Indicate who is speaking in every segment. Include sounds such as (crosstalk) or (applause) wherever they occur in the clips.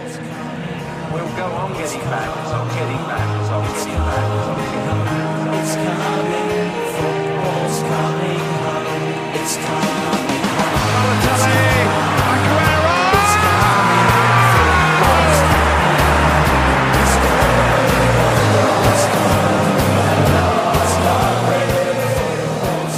Speaker 1: We'll go on getting back, it's on getting back, it's on getting back, it's on getting back. It's coming, football's coming home, it's coming home. Balotelli, Aguero! It's coming, football's coming, it's coming home, it's coming home, it's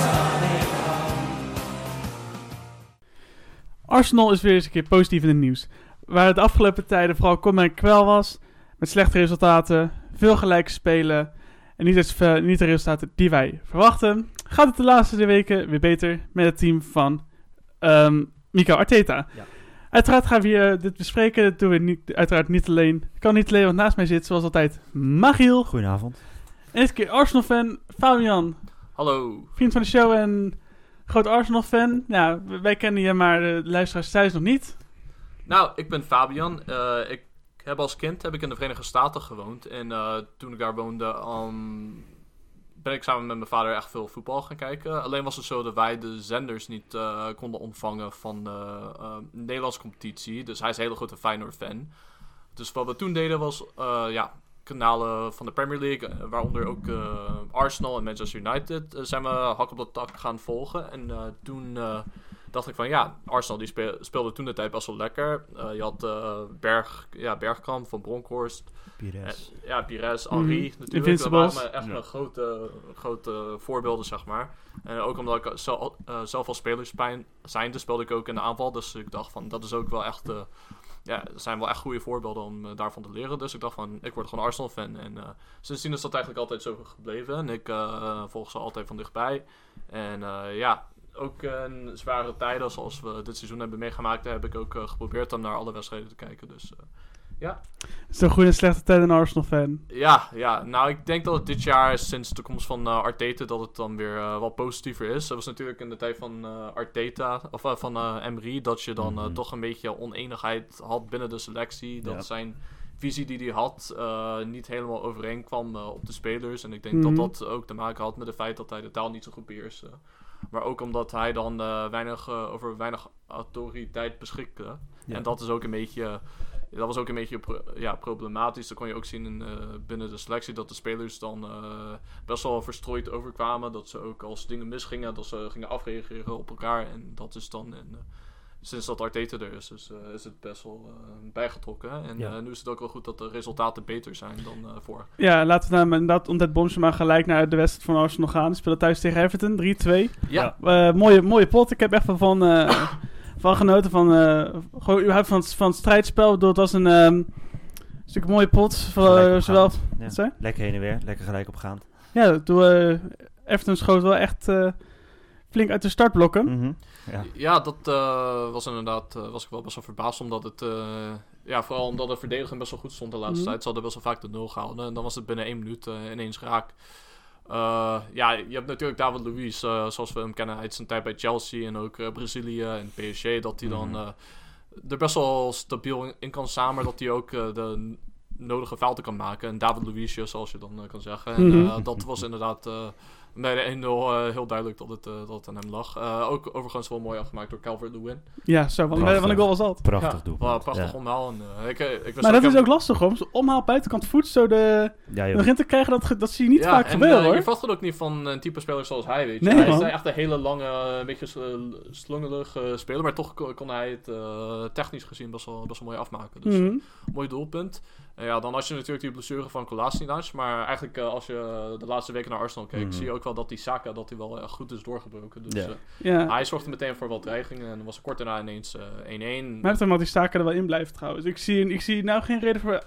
Speaker 1: coming, football's coming home.
Speaker 2: Arsenal is weer eens een keer positief in het nieuws. Waar het de afgelopen tijden vooral kom en kwel was. Met slechte resultaten, veel gelijke spelen. En niet, eens, eh, niet de resultaten die wij verwachten. Gaat het de laatste weken weer beter met het team van ehm Mikel Arteta.
Speaker 3: Ja.
Speaker 2: Uiteraard gaan we hier, eh, dit bespreken. Dat doen we niet, uiteraard niet alleen. Ik kan niet alleen, want naast mij zit zoals altijd Magiel.
Speaker 3: Goedenavond.
Speaker 2: En dit keer Arsenal-fan Fabian.
Speaker 4: Hallo.
Speaker 2: Vriend van de show en groot Arsenal-fan. Nou, w- wij kennen je, maar de luisteraars thuis nog niet.
Speaker 4: Nou, ik ben Fabian. Eh, ik heb als kind heb ik in de Verenigde Staten gewoond. En eh, toen ik daar woonde, ehm, ben ik samen met mijn vader echt veel voetbal gaan kijken. Alleen was het zo dat wij de zenders niet eh, konden ontvangen van de eh, Nederlandse competitie. Dus hij is een hele grote Feyenoord-fan. Dus wat we toen deden was, eh, ja, kanalen van de Premier League, eh, waaronder ook eh, Arsenal en Manchester United, eh, zijn we hak op de tak gaan volgen. En eh, toen... eh, dacht ik van ja, Arsenal die speel- speelde toen de tijd best wel lekker. Eh, je had eh, Berg, ja, Bergkamp van Bronkhorst.
Speaker 3: Pires.
Speaker 4: Eh, ja, Pires, Henri
Speaker 2: Mhm.
Speaker 4: natuurlijk.
Speaker 2: Invincibles.
Speaker 4: Dat waren echt mijn grote, grote voorbeelden, zeg maar. En ook omdat ik zelf, eh, zelf al spelerspijn zijnde speelde ik ook in de aanval. Dus ik dacht van, dat is ook wel echt... eh, ja, er zijn wel echt goede voorbeelden om eh, daarvan te leren. Dus ik dacht van, ik word gewoon Arsenal-fan. En eh, sindsdien is dat eigenlijk altijd zo gebleven. En ik eh, volg ze altijd van dichtbij. En eh, ja, ook in zware tijden zoals we dit seizoen hebben meegemaakt... heb ik ook eh, geprobeerd om naar alle wedstrijden te kijken. Dus eh,
Speaker 2: Het is een goede en slechte tijd een Arsenal-fan.
Speaker 4: ja, ja, nou ik denk dat het dit jaar sinds de komst van eh, Arteta dat het dan weer eh, wat positiever is. Dat was natuurlijk in de tijd van eh, Arteta, of eh, van eh Emery, dat je dan eh,
Speaker 3: Mhm.
Speaker 4: toch een beetje oneenigheid had binnen de selectie. Dat
Speaker 3: Ja.
Speaker 4: zijn visie die hij had eh, niet helemaal overeenkwam eh, op de spelers. En ik denk
Speaker 2: Mhm.
Speaker 4: dat dat ook te maken had met het feit dat hij de taal niet zo goed beheerste. Maar ook omdat hij dan eh, weinig, eh, over weinig autoriteit beschikte.
Speaker 3: Ja.
Speaker 4: En dat is ook een beetje. eh, Dat was ook een beetje pro- ja, problematisch. Dat kon je ook zien in, eh, binnen de selectie dat de spelers dan eh, best wel verstrooid overkwamen. Dat ze ook als dingen misgingen, dat ze gingen afreageren op elkaar. En dat is dan. En, eh, sinds dat Arteta er is, dus, eh, is het best wel eh, bijgetrokken. En
Speaker 3: Ja.
Speaker 4: eh, nu is het ook wel goed dat de resultaten beter zijn dan eh vorig
Speaker 2: Ja, laten we nou inderdaad om dat bomsje maar gelijk naar de wedstrijd van Arsenal gaan. Ze spelen thuis tegen Everton, 3-2.
Speaker 4: Ja,
Speaker 2: Eh, mooie, mooie pot. Ik heb echt wel van, eh, (coughs) van genoten van, eh, gewoon überhaupt van, het- van het strijdspel. Ik bedoel, het was een ehm, stuk mooie pot. Voor, eh,
Speaker 3: Gelijk
Speaker 2: zowel,
Speaker 3: opgaand. Ja.
Speaker 2: wat zei je?
Speaker 3: Lekker heen en weer. Lekker gelijk opgaand.
Speaker 2: ja, toen, eh, Everton schoot wel echt eh, flink uit de startblokken.
Speaker 3: Mhm. Ja.
Speaker 4: ja. dat eh, was inderdaad. eh, was ik wel best wel verbaasd omdat het. eh, ja, vooral omdat de verdediging best wel goed stond de laatste
Speaker 2: Mhm.
Speaker 4: tijd. Ze hadden best wel vaak de nul gehouden. En dan was het binnen één minuut eh, ineens raak. Eh, ja, je hebt natuurlijk David Luiz, eh, zoals we hem kennen uit zijn tijd bij Chelsea en ook eh, Brazilië en PSG, dat hij dan
Speaker 3: Mhm.
Speaker 4: eh, er best wel stabiel in- in kan staan, maar dat hij ook eh, de n- nodige fouten kan maken. En David Luiz, zoals je dan eh, kan zeggen. En,
Speaker 2: Mhm.
Speaker 4: eh, dat was inderdaad eh bij de 1-0 eh, heel duidelijk dat het, eh, dat het aan hem lag. Eh, ook overigens wel mooi afgemaakt door Calvert-Lewin.
Speaker 2: Ja, zo, want
Speaker 3: Prachtig.
Speaker 2: wat ik wel was dat.
Speaker 3: Prachtig
Speaker 4: ja,
Speaker 3: doelpunt.
Speaker 4: wel een Prachtig
Speaker 3: Ja.
Speaker 4: omhaal. En, eh, ik, eh, ik wist
Speaker 2: Maar dat is
Speaker 4: helemaal-
Speaker 2: ook lastig hoor. om zo'n Omhaal buitenkant voet zo de,
Speaker 3: Ja, joh.
Speaker 2: nog in te krijgen, dat, ge- dat zie je niet
Speaker 4: Ja,
Speaker 2: vaak
Speaker 4: en,
Speaker 2: gebeuren
Speaker 4: eh,
Speaker 2: hoor.
Speaker 4: Je verwacht het ook niet van een type speler zoals hij, weet je.
Speaker 2: Nee,
Speaker 4: hij
Speaker 2: man.
Speaker 4: is eh, echt een hele lange, eh, een beetje sl- slungelig eh, speler, maar toch kon, kon hij het eh, technisch gezien best wel, best wel mooi afmaken. Dus
Speaker 2: Mhm.
Speaker 4: eh, mooi doelpunt. En ja, dan had je natuurlijk die blessure van Kolasinac, maar eigenlijk eh, als je eh, de laatste weken naar Arsenal keek,
Speaker 3: Mhm.
Speaker 4: zie je ook wel dat die Saka dat hij wel echt goed is doorgebroken. Dus
Speaker 3: Ja.
Speaker 4: eh,
Speaker 2: Ja.
Speaker 4: hij zorgde meteen voor wat dreigingen en was kort daarna ineens eh, 1-1.
Speaker 2: Maar heeft omdat die staken er wel in blijft trouwens. Ik zie, ik zie nou geen reden voor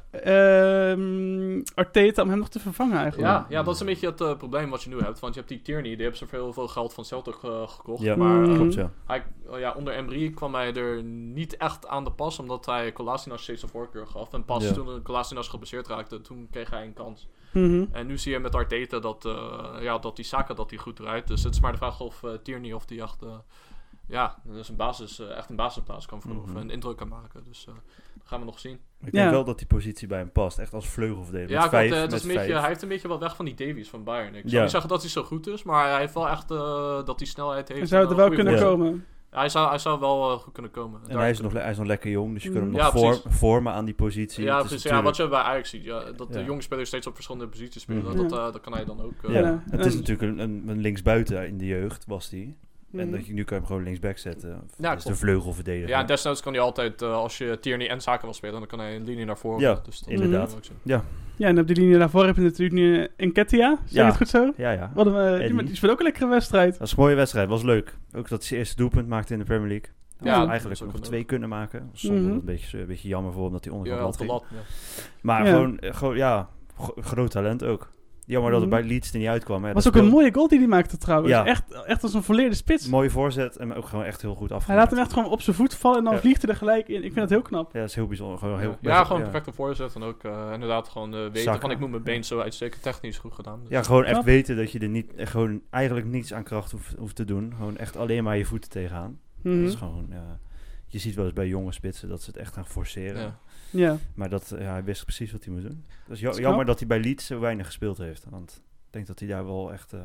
Speaker 2: ehm, Arteta om hem nog te vervangen eigenlijk.
Speaker 4: Ja, ja, dat is een beetje het eh, probleem wat je nu hebt. Want je hebt die Tierney, die hebben zoveel veel geld van Celtic eh, gekocht.
Speaker 3: Ja.
Speaker 4: maar eh,
Speaker 2: Mhm.
Speaker 3: Klopt, ja.
Speaker 4: Hij, oh ja, onder Emery kwam hij er niet echt aan de pas, omdat hij Kolasinac steeds de voorkeur gaf. En pas
Speaker 3: Ja.
Speaker 4: toen Kolasinac geblesseerd raakte, toen kreeg hij een kans.
Speaker 2: Mhm.
Speaker 4: En nu zie je met Arteta dat, eh, ja, dat die Saka dat die goed draait. Dus het is maar de vraag of eh, Tierney of die echt, eh, ja, dus een basis, eh, echt een basisplaats kan veroveren.
Speaker 3: Mhm.
Speaker 4: Een indruk kan maken. Dus eh, dat gaan we nog zien.
Speaker 3: Ik
Speaker 2: Ja.
Speaker 3: denk wel dat die positie bij hem past. Echt als vleugelverdediger.
Speaker 4: ja,
Speaker 3: met
Speaker 4: klopt,
Speaker 3: vijf,
Speaker 4: eh, het is
Speaker 3: met
Speaker 4: een beetje,
Speaker 3: vijf.
Speaker 4: hij heeft een beetje wat weg van die Davies van Bayern. Ik zou
Speaker 3: Ja.
Speaker 4: niet zeggen dat hij zo goed is, maar hij heeft wel echt eh, dat die snelheid heeft.
Speaker 2: Hij
Speaker 4: en
Speaker 2: zou er
Speaker 4: een
Speaker 2: wel
Speaker 4: goede
Speaker 2: kunnen
Speaker 3: voorzet.
Speaker 2: komen.
Speaker 4: Hij zou, hij zou wel eh, goed kunnen komen.
Speaker 3: En hij is, nog, le- hij is nog lekker jong, dus je kunt hem
Speaker 2: Mm.
Speaker 3: nog
Speaker 4: Ja,
Speaker 3: vorm-
Speaker 4: precies.
Speaker 3: vormen aan die positie.
Speaker 4: ja,
Speaker 3: Het is
Speaker 4: precies, ja, wat
Speaker 3: natuurlijk-
Speaker 4: je bij Ajax ziet. Ja, dat de
Speaker 3: Ja.
Speaker 4: jonge spelers steeds op verschillende posities spelen.
Speaker 3: Mhm.
Speaker 4: Dat,
Speaker 2: Ja.
Speaker 4: eh, dat kan hij dan ook. eh,
Speaker 3: ja,
Speaker 2: Ja,
Speaker 3: het is
Speaker 2: en-
Speaker 3: natuurlijk een, een, een linksbuiten in de jeugd, was die.
Speaker 2: Mhm.
Speaker 3: En dat je, nu kan je hem gewoon linksback zetten. Of-
Speaker 4: Ja,
Speaker 3: dat is de
Speaker 4: klopt.
Speaker 3: vleugel
Speaker 4: Ja, en desnoods kan hij altijd, eh, als je Tierney en Zaken wil spelen, dan kan hij een linie naar voren.
Speaker 3: Ja,
Speaker 4: dus dat-
Speaker 3: inderdaad.
Speaker 4: dat kan ook
Speaker 2: Ja, en op die linie daarvoor heb je natuurlijk nu eh, Enketia. Zeg je
Speaker 3: Ja.
Speaker 2: het goed zo?
Speaker 3: ja, ja.
Speaker 2: Wat een, eh, die,
Speaker 3: Eddie.
Speaker 2: die speelt ook een lekkere wedstrijd.
Speaker 3: Dat was een mooie wedstrijd, was leuk. Ook dat ze eerste doelpunt maakte in de Premier League.
Speaker 4: Ja,
Speaker 3: Ja,
Speaker 4: dat
Speaker 3: eigenlijk
Speaker 4: is ook
Speaker 3: nog
Speaker 4: een
Speaker 3: twee kunnen maken. Zonder
Speaker 2: Mhm.
Speaker 3: een, beetje, een beetje jammer voor omdat hij
Speaker 4: zijn. Ja,
Speaker 3: onderkant
Speaker 4: op
Speaker 3: had.
Speaker 4: de
Speaker 3: ging.
Speaker 4: lat. Ja.
Speaker 3: Maar
Speaker 2: Ja.
Speaker 3: gewoon, eh, gewoon, ja, gro- groot talent ook. Jammer dat het
Speaker 2: Mhm.
Speaker 3: bij Leeds er niet uitkwam. hè.
Speaker 2: was
Speaker 3: Dat
Speaker 2: ook een
Speaker 3: speelde-
Speaker 2: mooie goal die hij maakte trouwens.
Speaker 3: Ja.
Speaker 2: Echt, echt als een volleerde spits.
Speaker 3: mooie voorzet en ook gewoon echt heel goed
Speaker 2: Hij
Speaker 3: afgemaakt.
Speaker 2: laat hem echt gewoon op zijn voet vallen en dan
Speaker 3: Ja.
Speaker 2: vliegt hij er gelijk in. Ik vind dat heel knap.
Speaker 3: Ja, dat is heel bijzonder. Gewoon heel,
Speaker 4: Ja,
Speaker 3: best-
Speaker 4: gewoon perfecte voorzet. En ook eh, inderdaad gewoon eh, weten
Speaker 3: Zakken.
Speaker 4: van ik moet mijn
Speaker 3: Ja.
Speaker 4: been zo uitsteken. Technisch goed gedaan. Dus.
Speaker 3: Ja, gewoon echt
Speaker 2: Knap.
Speaker 3: weten dat je er niet, eh, gewoon eigenlijk niets aan kracht hoeft, hoeft te doen. Gewoon echt alleen maar je voeten tegenaan.
Speaker 2: Mhm.
Speaker 3: Dat is gewoon, ja, je ziet wel eens bij jonge spitsen dat ze het echt gaan forceren.
Speaker 4: Ja.
Speaker 2: Ja.
Speaker 3: Maar dat, eh, ja, hij wist precies wat hij moest doen. Dus
Speaker 2: Dat is
Speaker 3: jammer
Speaker 2: knap.
Speaker 3: dat hij bij Leeds zo weinig gespeeld heeft. Want ik denk dat hij daar wel echt... eh,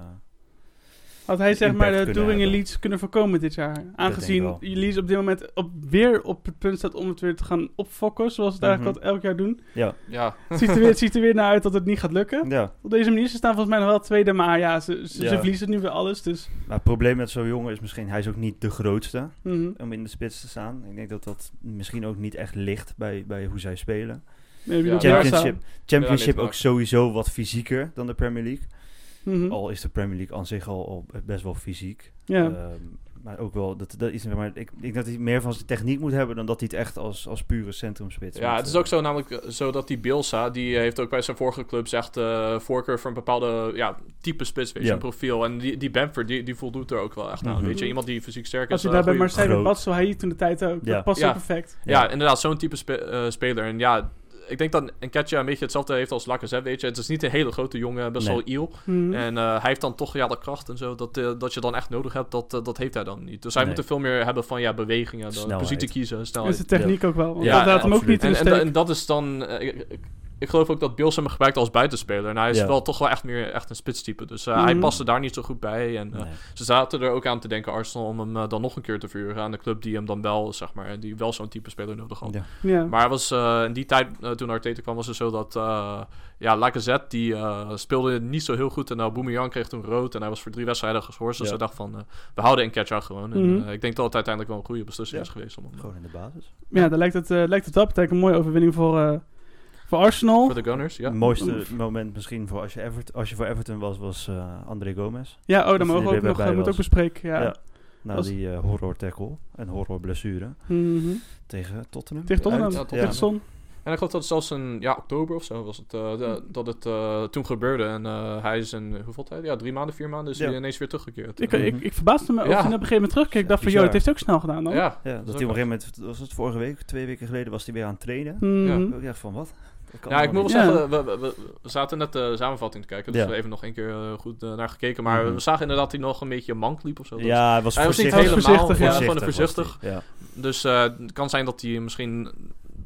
Speaker 2: Had hij zeg
Speaker 3: impact
Speaker 2: maar de
Speaker 3: kunnen
Speaker 2: doering in
Speaker 3: hebben.
Speaker 2: Leeds kunnen voorkomen dit jaar? Aangezien
Speaker 3: denk ik wel.
Speaker 2: Leeds op dit moment op, weer op het punt staat om het weer te gaan opfokken, zoals ze het eigenlijk
Speaker 3: Mhm.
Speaker 2: al elk jaar doen.
Speaker 3: ja,
Speaker 4: ja,
Speaker 2: Het ziet, er weer, het ziet er weer naar uit dat het niet gaat lukken.
Speaker 3: ja.
Speaker 2: Op deze manier, ze staan volgens mij nog wel tweede, maar ja, ze, ze, ze
Speaker 3: Ja.
Speaker 2: verliezen nu weer alles. Dus,
Speaker 3: Maar Nou, het probleem met zo'n jongen is misschien... Hij is ook niet de grootste
Speaker 2: mhm.
Speaker 3: om in de spits te staan. Ik denk dat dat misschien ook niet echt ligt bij, bij hoe zij spelen.
Speaker 2: Nee, ik bedoel,
Speaker 4: Ja, daar
Speaker 3: Championship,
Speaker 4: Ja,
Speaker 3: championship
Speaker 4: dit
Speaker 3: ook
Speaker 4: maakt-
Speaker 3: sowieso wat fysieker dan de Premier League.
Speaker 2: Mhm.
Speaker 3: Al is de Premier League aan zich al, al best wel fysiek.
Speaker 2: Ja.
Speaker 3: Ehm, maar ook wel, dat, dat is, maar ik, ik denk dat hij meer van zijn techniek moet hebben dan dat hij het echt als, als pure centrumspits
Speaker 4: ja,
Speaker 3: moet,
Speaker 4: het is
Speaker 3: eh,
Speaker 4: ook zo namelijk eh, zo dat die Bilsa, die heeft ook bij zijn vorige clubs echt eh, voorkeur voor een bepaalde ja, type spits, weet je,
Speaker 3: Ja.
Speaker 4: een profiel. En die, die Bamford, die, die voldoet er ook wel echt aan,
Speaker 3: Mhm.
Speaker 4: weet je. Iemand die fysiek sterk is.
Speaker 2: Als je
Speaker 4: eh,
Speaker 2: daar bij
Speaker 4: goeie-
Speaker 2: Marseille met
Speaker 3: Groot.
Speaker 2: Bats, zo hij toen de tijd ook.
Speaker 3: Ja.
Speaker 2: Dat past
Speaker 4: Ja.
Speaker 2: ook perfect.
Speaker 4: Ja, inderdaad, zo'n type spe- eh, speler. En ja, ik denk dat Nketiah een beetje hetzelfde heeft als Lacazette, weet je. Het is niet een hele grote jongen, best
Speaker 3: Nee.
Speaker 4: wel iel.
Speaker 2: Mhm.
Speaker 4: En eh, hij heeft dan toch ja, dat kracht en zo, dat, eh, dat je dan echt nodig hebt, dat, eh, dat heeft hij dan niet. Dus hij
Speaker 3: Nee.
Speaker 4: moet er veel meer hebben van ja, bewegingen, dan
Speaker 3: Snelheid.
Speaker 4: positie kiezen,
Speaker 2: en
Speaker 4: snelheid.
Speaker 2: zijn techniek ook wel. Want
Speaker 4: nou, Ja,
Speaker 2: dat laat hem ook
Speaker 3: absoluut.
Speaker 2: niet in
Speaker 4: en,
Speaker 2: de
Speaker 4: en,
Speaker 2: steek.
Speaker 4: da- en dat is dan... eh, ik, ik- ik geloof ook dat Bills hem gebruikt als buitenspeler. En hij is
Speaker 3: Ja.
Speaker 4: wel toch wel echt meer echt een spitstype. Dus eh,
Speaker 2: Mhm.
Speaker 4: hij paste daar niet zo goed bij. En eh,
Speaker 3: nee.
Speaker 4: ze zaten er ook aan te denken, Arsenal, om hem eh, dan nog een keer te vuren aan de club die hem dan wel, zeg maar, eh, die wel zo'n type speler nodig had.
Speaker 3: Ja.
Speaker 2: ja.
Speaker 4: Maar was, eh, in die tijd, eh, toen Arteta kwam, was het zo dat... eh ja, Lacazette, die eh, speelde niet zo heel goed. En nou, Boumedian kreeg toen rood. En hij was voor drie wedstrijden geschorst. Dus
Speaker 3: Ja.
Speaker 4: hij dacht van, eh, we houden Nketiah gewoon. En,
Speaker 2: Mhm.
Speaker 4: eh, ik denk dat het uiteindelijk wel een goede beslissing
Speaker 3: Ja.
Speaker 4: is geweest. Om, hem- eh,
Speaker 3: Gewoon in de basis.
Speaker 2: ja, dan lijkt het, eh, lijkt het wel. Betekent een mooie overwinning voor, eh, voor Arsenal.
Speaker 4: voor de Gunners, ja.
Speaker 3: Het mooiste moment misschien voor als je, Evert, als je voor Everton was, was eh, André Gomez.
Speaker 2: ja, oh, daar
Speaker 3: die
Speaker 2: mogen we
Speaker 3: er
Speaker 2: ook
Speaker 3: weer
Speaker 2: nog
Speaker 3: bij
Speaker 2: eh, moet
Speaker 3: was.
Speaker 2: ook bespreken. Ja.
Speaker 3: Ja. Na
Speaker 2: Was-
Speaker 3: die eh, horror tackle en horror blessure
Speaker 2: Mhm.
Speaker 3: tegen Tottenham.
Speaker 2: Tegen Tottenham.
Speaker 4: Ja,
Speaker 3: Uit.
Speaker 4: Tottenham.
Speaker 2: Tegen Son.
Speaker 4: En ik geloof dat het zelfs in ja, oktober of zo was het, eh, de-
Speaker 2: Mhm.
Speaker 4: dat het eh, toen gebeurde. En eh, hij is in, hoeveel tijd? Ja, drie maanden, vier maanden is
Speaker 3: Ja.
Speaker 4: hij ineens weer teruggekeerd.
Speaker 2: Ik,
Speaker 4: Eh,
Speaker 2: ik, ik verbaasde me ook
Speaker 4: Ja.
Speaker 2: toen op een gegeven moment terugkeek. Ik dacht van,
Speaker 3: Bizar.
Speaker 2: joh, dat heeft hij ook snel gedaan dan.
Speaker 4: ja,
Speaker 3: Ja, dat hij op een gegeven moment, was het vorige week, twee weken geleden, was hij weer aan het trainen.
Speaker 2: Mhm.
Speaker 3: Ik dacht van, wat? Dat kan
Speaker 4: Mm-hmm. Ja, ik moet
Speaker 3: allemaal
Speaker 4: wel
Speaker 2: Ja.
Speaker 4: zeggen, we, we, we- we zaten net de samenvatting te kijken. Dus
Speaker 3: Ja.
Speaker 4: we even nog een keer eh, goed eh, naar gekeken. Maar
Speaker 3: Mhm.
Speaker 4: we zagen inderdaad dat hij nog een beetje mank liep of zo.
Speaker 3: niet.
Speaker 4: Dat-
Speaker 3: Ja, hij was
Speaker 4: Hij was niet
Speaker 3: voorzichtig.
Speaker 4: helemaal
Speaker 2: Voorzichtig, ja.
Speaker 4: gewoon een
Speaker 3: was hij.
Speaker 4: voorzichtig.
Speaker 3: Ja.
Speaker 4: Dus eh, het kan zijn dat hij misschien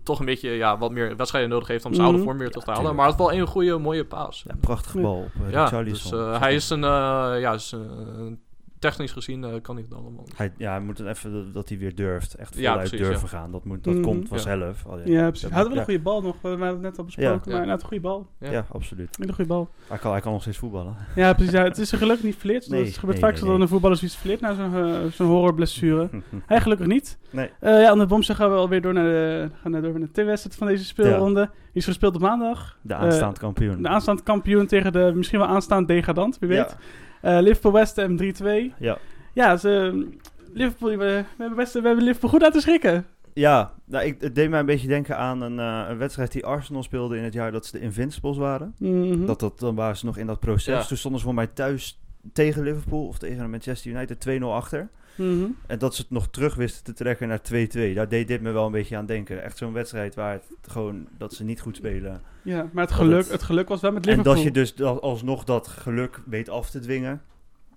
Speaker 4: toch een beetje ja, wat meer wedstrijden nodig heeft om zijn
Speaker 2: Mhm.
Speaker 4: oude vorm weer terug te halen.
Speaker 3: tuurlijk.
Speaker 4: Maar het is wel een goede, mooie paas.
Speaker 3: Ja, prachtige bal op eh,
Speaker 4: Ja, dus
Speaker 3: Richarlison.
Speaker 4: eh, hij is een... eh, ja, is een- technisch gezien eh, kan hij het allemaal.
Speaker 3: Hij, ja, hij moet het even dat- dat hij weer durft. Echt
Speaker 4: Ja, Mm-hmm,
Speaker 3: voluit
Speaker 4: precies,
Speaker 3: durven gaan. Dat, moet, dat
Speaker 2: Mhm.
Speaker 3: komt vanzelf. Alleen-
Speaker 2: Ja, precies.
Speaker 3: dat
Speaker 2: Hadden we
Speaker 3: moet-
Speaker 2: een goede bal nog? We hadden het net al
Speaker 3: Ja.
Speaker 2: besproken, maar
Speaker 4: Ja.
Speaker 2: inderdaad een goede bal.
Speaker 4: Ja.
Speaker 3: Ja, absoluut.
Speaker 2: Een hele goede bal.
Speaker 3: Hij kan, hij kan nog steeds voetballen.
Speaker 2: Ja, precies. Ja, het is er gelukkig niet verleerd.
Speaker 3: Nee,
Speaker 2: dat het gebeurt
Speaker 3: nee,
Speaker 2: vaak
Speaker 3: nee,
Speaker 2: zo dat
Speaker 3: nee.
Speaker 2: een voetballer zoiets verleert na zo'n eh, zo'n horrorblessure. Hij gelukkig niet.
Speaker 3: Nee.
Speaker 2: Eh, ja, aan de bom zeggen we alweer door naar de, gaan we door naar de T-wedstrijd van deze speelronde. Die is gespeeld op maandag.
Speaker 3: (laughs) De
Speaker 4: Eh,
Speaker 3: aanstaand kampioen.
Speaker 2: De aanstaand kampioen tegen de misschien wel aanstaand degradant, wie weet.
Speaker 3: Ja,
Speaker 2: Eh, Liverpool West Ham 3-2.
Speaker 3: ja.
Speaker 2: Ja, ze, Liverpool, we, we, hebben West, we hebben Liverpool goed laten schrikken.
Speaker 3: ja nou, ik, het deed mij een beetje denken aan een, eh, een wedstrijd die Arsenal speelde in het jaar dat ze de Invincibles waren.
Speaker 2: Mhm.
Speaker 3: Dat, dat, dan waren ze nog in dat proces.
Speaker 4: Ja.
Speaker 3: Toen stonden ze voor mij thuis tegen Liverpool of tegen Manchester United 2-0 achter.
Speaker 2: Mhm.
Speaker 3: En dat ze het nog terug wisten te trekken naar 2-2. Daar deed dit me wel een beetje aan denken. Echt zo'n wedstrijd waar het gewoon dat ze niet goed spelen.
Speaker 2: Ja, maar het
Speaker 3: Dat
Speaker 2: geluk,
Speaker 3: het-
Speaker 2: het geluk was wel met Liverpool.
Speaker 3: En dat je dus da- alsnog dat geluk weet af te dwingen.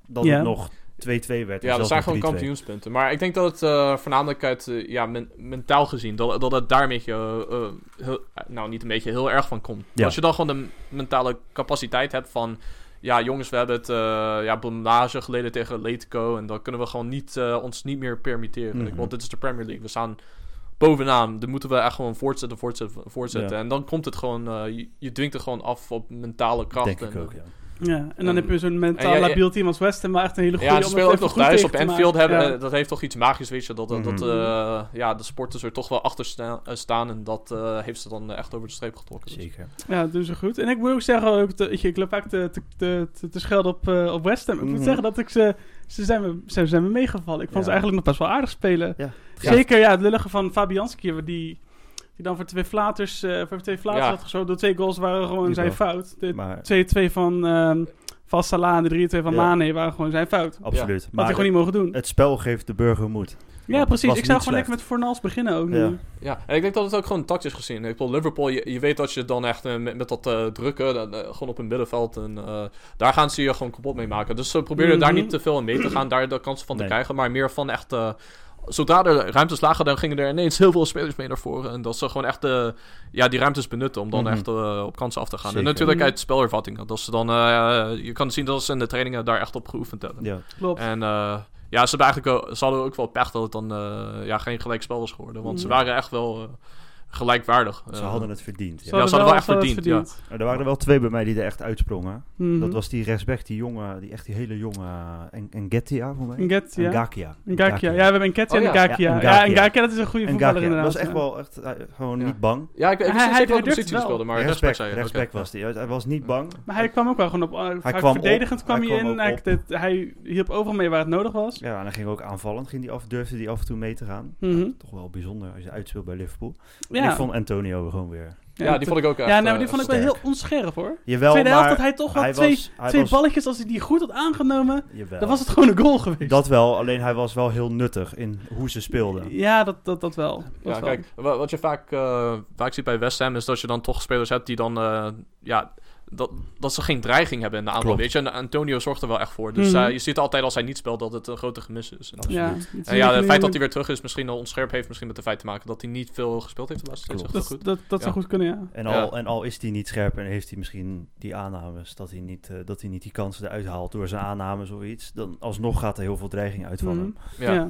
Speaker 3: Dat
Speaker 2: Ja.
Speaker 3: het nog 2-2 werd. en
Speaker 4: Ja, dat
Speaker 3: zelfs nog
Speaker 4: zijn
Speaker 3: 3-2.
Speaker 4: gewoon kampioenspunten. Maar ik denk dat het eh, voornamelijk uit eh, ja, men- mentaal gezien, dat, dat het daar een beetje, eh, eh, heel- nou niet een beetje, heel erg van komt.
Speaker 3: Ja.
Speaker 4: Als je dan gewoon de mentale capaciteit hebt van, ja, jongens, we hebben het eh ja, blamage geleden tegen Letico. En dat kunnen we gewoon niet, eh, ons niet meer permitteren.
Speaker 3: Mhm.
Speaker 4: Want dit is de Premier League. We staan bovenaan. Dan moeten we echt gewoon voortzetten, voortzetten, voortzetten.
Speaker 3: Ja.
Speaker 4: En dan komt het gewoon... eh, je, je dwingt het gewoon af op mentale kracht.
Speaker 3: Denk
Speaker 4: en,
Speaker 3: ik ook, ja.
Speaker 2: Ja, en dan
Speaker 4: En-
Speaker 2: heb je zo'n
Speaker 4: en
Speaker 2: mentaal
Speaker 4: ja, ja.
Speaker 2: labiel team als West Ham, maar echt een hele goede...
Speaker 4: Ja,
Speaker 2: om
Speaker 4: ze
Speaker 2: het
Speaker 4: spelen ook
Speaker 2: even
Speaker 4: nog
Speaker 2: goed
Speaker 4: thuis op
Speaker 2: tegen te
Speaker 4: Anfield.
Speaker 2: maken.
Speaker 4: Hebben,
Speaker 2: Ja.
Speaker 4: eh, Dat heeft toch iets magisch, weet je. Dat, dat, dat,
Speaker 3: Mhm.
Speaker 4: eh, ja, de sporters er toch wel achter sta- eh, staan. En dat eh, heeft ze dan eh, echt over de streep getrokken. Dus-
Speaker 3: Zeker.
Speaker 2: Ja, dat doen ze goed. En ik moet ook zeggen, ook te- ik, ik loop vaak te, te, te, te- te schelden op, eh, op West Ham. Ik moet
Speaker 3: Mhm.
Speaker 2: zeggen dat ik ze, ze zijn me, ze zijn me meegevallen. Ik vond
Speaker 3: Ja.
Speaker 2: ze eigenlijk nog best wel aardig spelen.
Speaker 3: Ja.
Speaker 2: Zeker ja, het lullige van Fabianski, die, die dan voor twee flaters, eh, voor twee flaters
Speaker 4: Ja.
Speaker 2: had gezorgd. De twee goals waren gewoon
Speaker 3: Die
Speaker 2: zijn
Speaker 3: wel.
Speaker 2: fout. De
Speaker 3: Maar
Speaker 2: 2-2 van ehm van Salah en de 3-2 van
Speaker 3: Ja.
Speaker 2: Mane waren gewoon zijn fout.
Speaker 3: absoluut.
Speaker 2: Had
Speaker 3: Maar
Speaker 2: hij gewoon niet mogen doen.
Speaker 3: het spel geeft de burger moed.
Speaker 2: Ja,
Speaker 3: het
Speaker 2: precies.
Speaker 3: was
Speaker 2: Ik zou
Speaker 3: niet
Speaker 2: gewoon lekker met
Speaker 3: slecht.
Speaker 2: Fornals beginnen ook
Speaker 3: Ja.
Speaker 2: nu.
Speaker 4: Ja, en ik denk dat het ook gewoon tactisch gezien. Ik bedoel, Liverpool, je, je weet dat je dan echt eh, met, met dat eh, drukken, dat, eh, gewoon op een middenveld, en, eh, daar gaan ze je gewoon kapot mee maken. Dus ze proberen daar
Speaker 2: Mhm.
Speaker 4: niet te veel in mee te gaan, daar de kansen van te
Speaker 3: Nee.
Speaker 4: krijgen, maar meer van echt... eh, Zodra er ruimtes lagen, dan gingen er ineens heel veel spelers mee naar voren. En dat ze gewoon echt eh, ja, die ruimtes benutten om dan
Speaker 3: Mhm.
Speaker 4: echt eh, op kansen af te gaan.
Speaker 3: Zeker.
Speaker 4: En natuurlijk
Speaker 2: Mhm.
Speaker 4: uit spelervattingen. Dat ze dan, eh, je kan zien dat ze in de trainingen daar echt op geoefend hebben.
Speaker 3: Ja.
Speaker 2: Klopt.
Speaker 4: En eh, ja, ze, hebben eigenlijk, ook- ze hadden ook wel pech dat het dan eh, ja, geen gelijkspel was geworden. Want ze
Speaker 2: Mhm.
Speaker 4: waren echt wel eh, gelijkwaardig.
Speaker 3: Ze
Speaker 4: Eh,
Speaker 3: hadden het verdiend. Ja. Nou,
Speaker 4: hadden wel echt
Speaker 2: eh,
Speaker 4: verdiend,
Speaker 3: Er waren er wel twee bij mij die er echt uitsprongen.
Speaker 2: ja.
Speaker 3: Dat was die rechtsback, die jonge, die echt die hele jonge... eh, En, en Gettia voor mij?
Speaker 2: Engetia.
Speaker 3: En Gakia.
Speaker 2: Ngakia. Ja, we hebben een Ketty
Speaker 4: Oh,
Speaker 2: en
Speaker 4: ja.
Speaker 2: Ngakia.
Speaker 3: Ja,
Speaker 2: Ja,
Speaker 3: Ngakia.
Speaker 2: en Ngakia, dat is een goede
Speaker 3: En
Speaker 2: voetballer
Speaker 3: Gakia.
Speaker 2: inderdaad.
Speaker 3: Dat was echt
Speaker 2: ja.
Speaker 3: wel echt, eh, gewoon
Speaker 4: Ja.
Speaker 3: niet bang.
Speaker 4: Ja, ik,
Speaker 2: Hij-
Speaker 4: ik wist
Speaker 2: hij-
Speaker 4: niet welke
Speaker 2: hij durft
Speaker 4: positie
Speaker 2: het
Speaker 4: hij speelde, maar rechtsback
Speaker 3: rechtsback
Speaker 4: zei je.
Speaker 3: rechtsback
Speaker 4: Oké.
Speaker 3: was hij. Hij- Hij was niet bang.
Speaker 2: Maar hij kwam ook wel gewoon op... eh, vaak
Speaker 3: kwam op,
Speaker 2: verdedigend kwam
Speaker 3: hij
Speaker 2: hij
Speaker 3: kwam
Speaker 2: in.
Speaker 3: ook
Speaker 2: Hij,
Speaker 3: op.
Speaker 2: dat- hij hielp overal mee waar het nodig was.
Speaker 3: Ja, en hij ging ook aanvallend. Ging die af, durfde die af en toe mee te gaan.
Speaker 2: Mhm.
Speaker 3: Toch wel bijzonder als je uitspeelt bij Liverpool. En
Speaker 2: Ja,
Speaker 3: Ik vond Antonio gewoon weer...
Speaker 4: Ja, die vond ik ook echt...
Speaker 2: Ja, nee,
Speaker 4: eh,
Speaker 2: maar die vond ik wel
Speaker 4: echt
Speaker 2: heel onscherp hoor.
Speaker 3: Jawel,
Speaker 2: Tweede
Speaker 3: maar
Speaker 2: helft had hij toch wel
Speaker 3: hij
Speaker 2: twee,
Speaker 3: was- hij
Speaker 2: twee
Speaker 3: was-
Speaker 2: balletjes. Als hij die goed had aangenomen,
Speaker 3: Jawel.
Speaker 2: dan was het gewoon een goal geweest.
Speaker 3: Dat wel, alleen hij was wel heel nuttig in hoe ze speelden.
Speaker 2: Ja, dat, dat, dat wel. Dat
Speaker 4: sterk. Ja,
Speaker 2: wel.
Speaker 4: kijk, wa- wat je vaak, eh, vaak ziet bij West Ham is dat je dan toch spelers hebt die dan... eh, ja, dat, dat ze geen dreiging hebben in de aanval,
Speaker 3: Klopt.
Speaker 4: weet je. En Antonio zorgt er wel echt voor. Dus
Speaker 2: Mhm.
Speaker 4: eh, je ziet altijd als hij niet speelt dat het een grote gemis is. En-
Speaker 2: Ja,
Speaker 3: absoluut.
Speaker 2: dat is
Speaker 4: En ja,
Speaker 2: een-
Speaker 4: het feit dat hij weer terug is, misschien al onscherp heeft misschien met het feit te maken dat hij niet veel gespeeld heeft de laatste tijd.
Speaker 3: Klopt.
Speaker 4: Is echt
Speaker 2: Dat,
Speaker 4: goed.
Speaker 2: dat, dat zou
Speaker 4: Ja.
Speaker 2: goed kunnen, ja.
Speaker 3: En al, en al is hij niet scherp en heeft hij misschien die aannames, dat hij niet, eh, dat hij niet die kansen eruit haalt door zijn aannames of iets, dan alsnog gaat er heel veel dreiging uit van
Speaker 2: Mhm.
Speaker 3: hem.
Speaker 2: Ja. ja.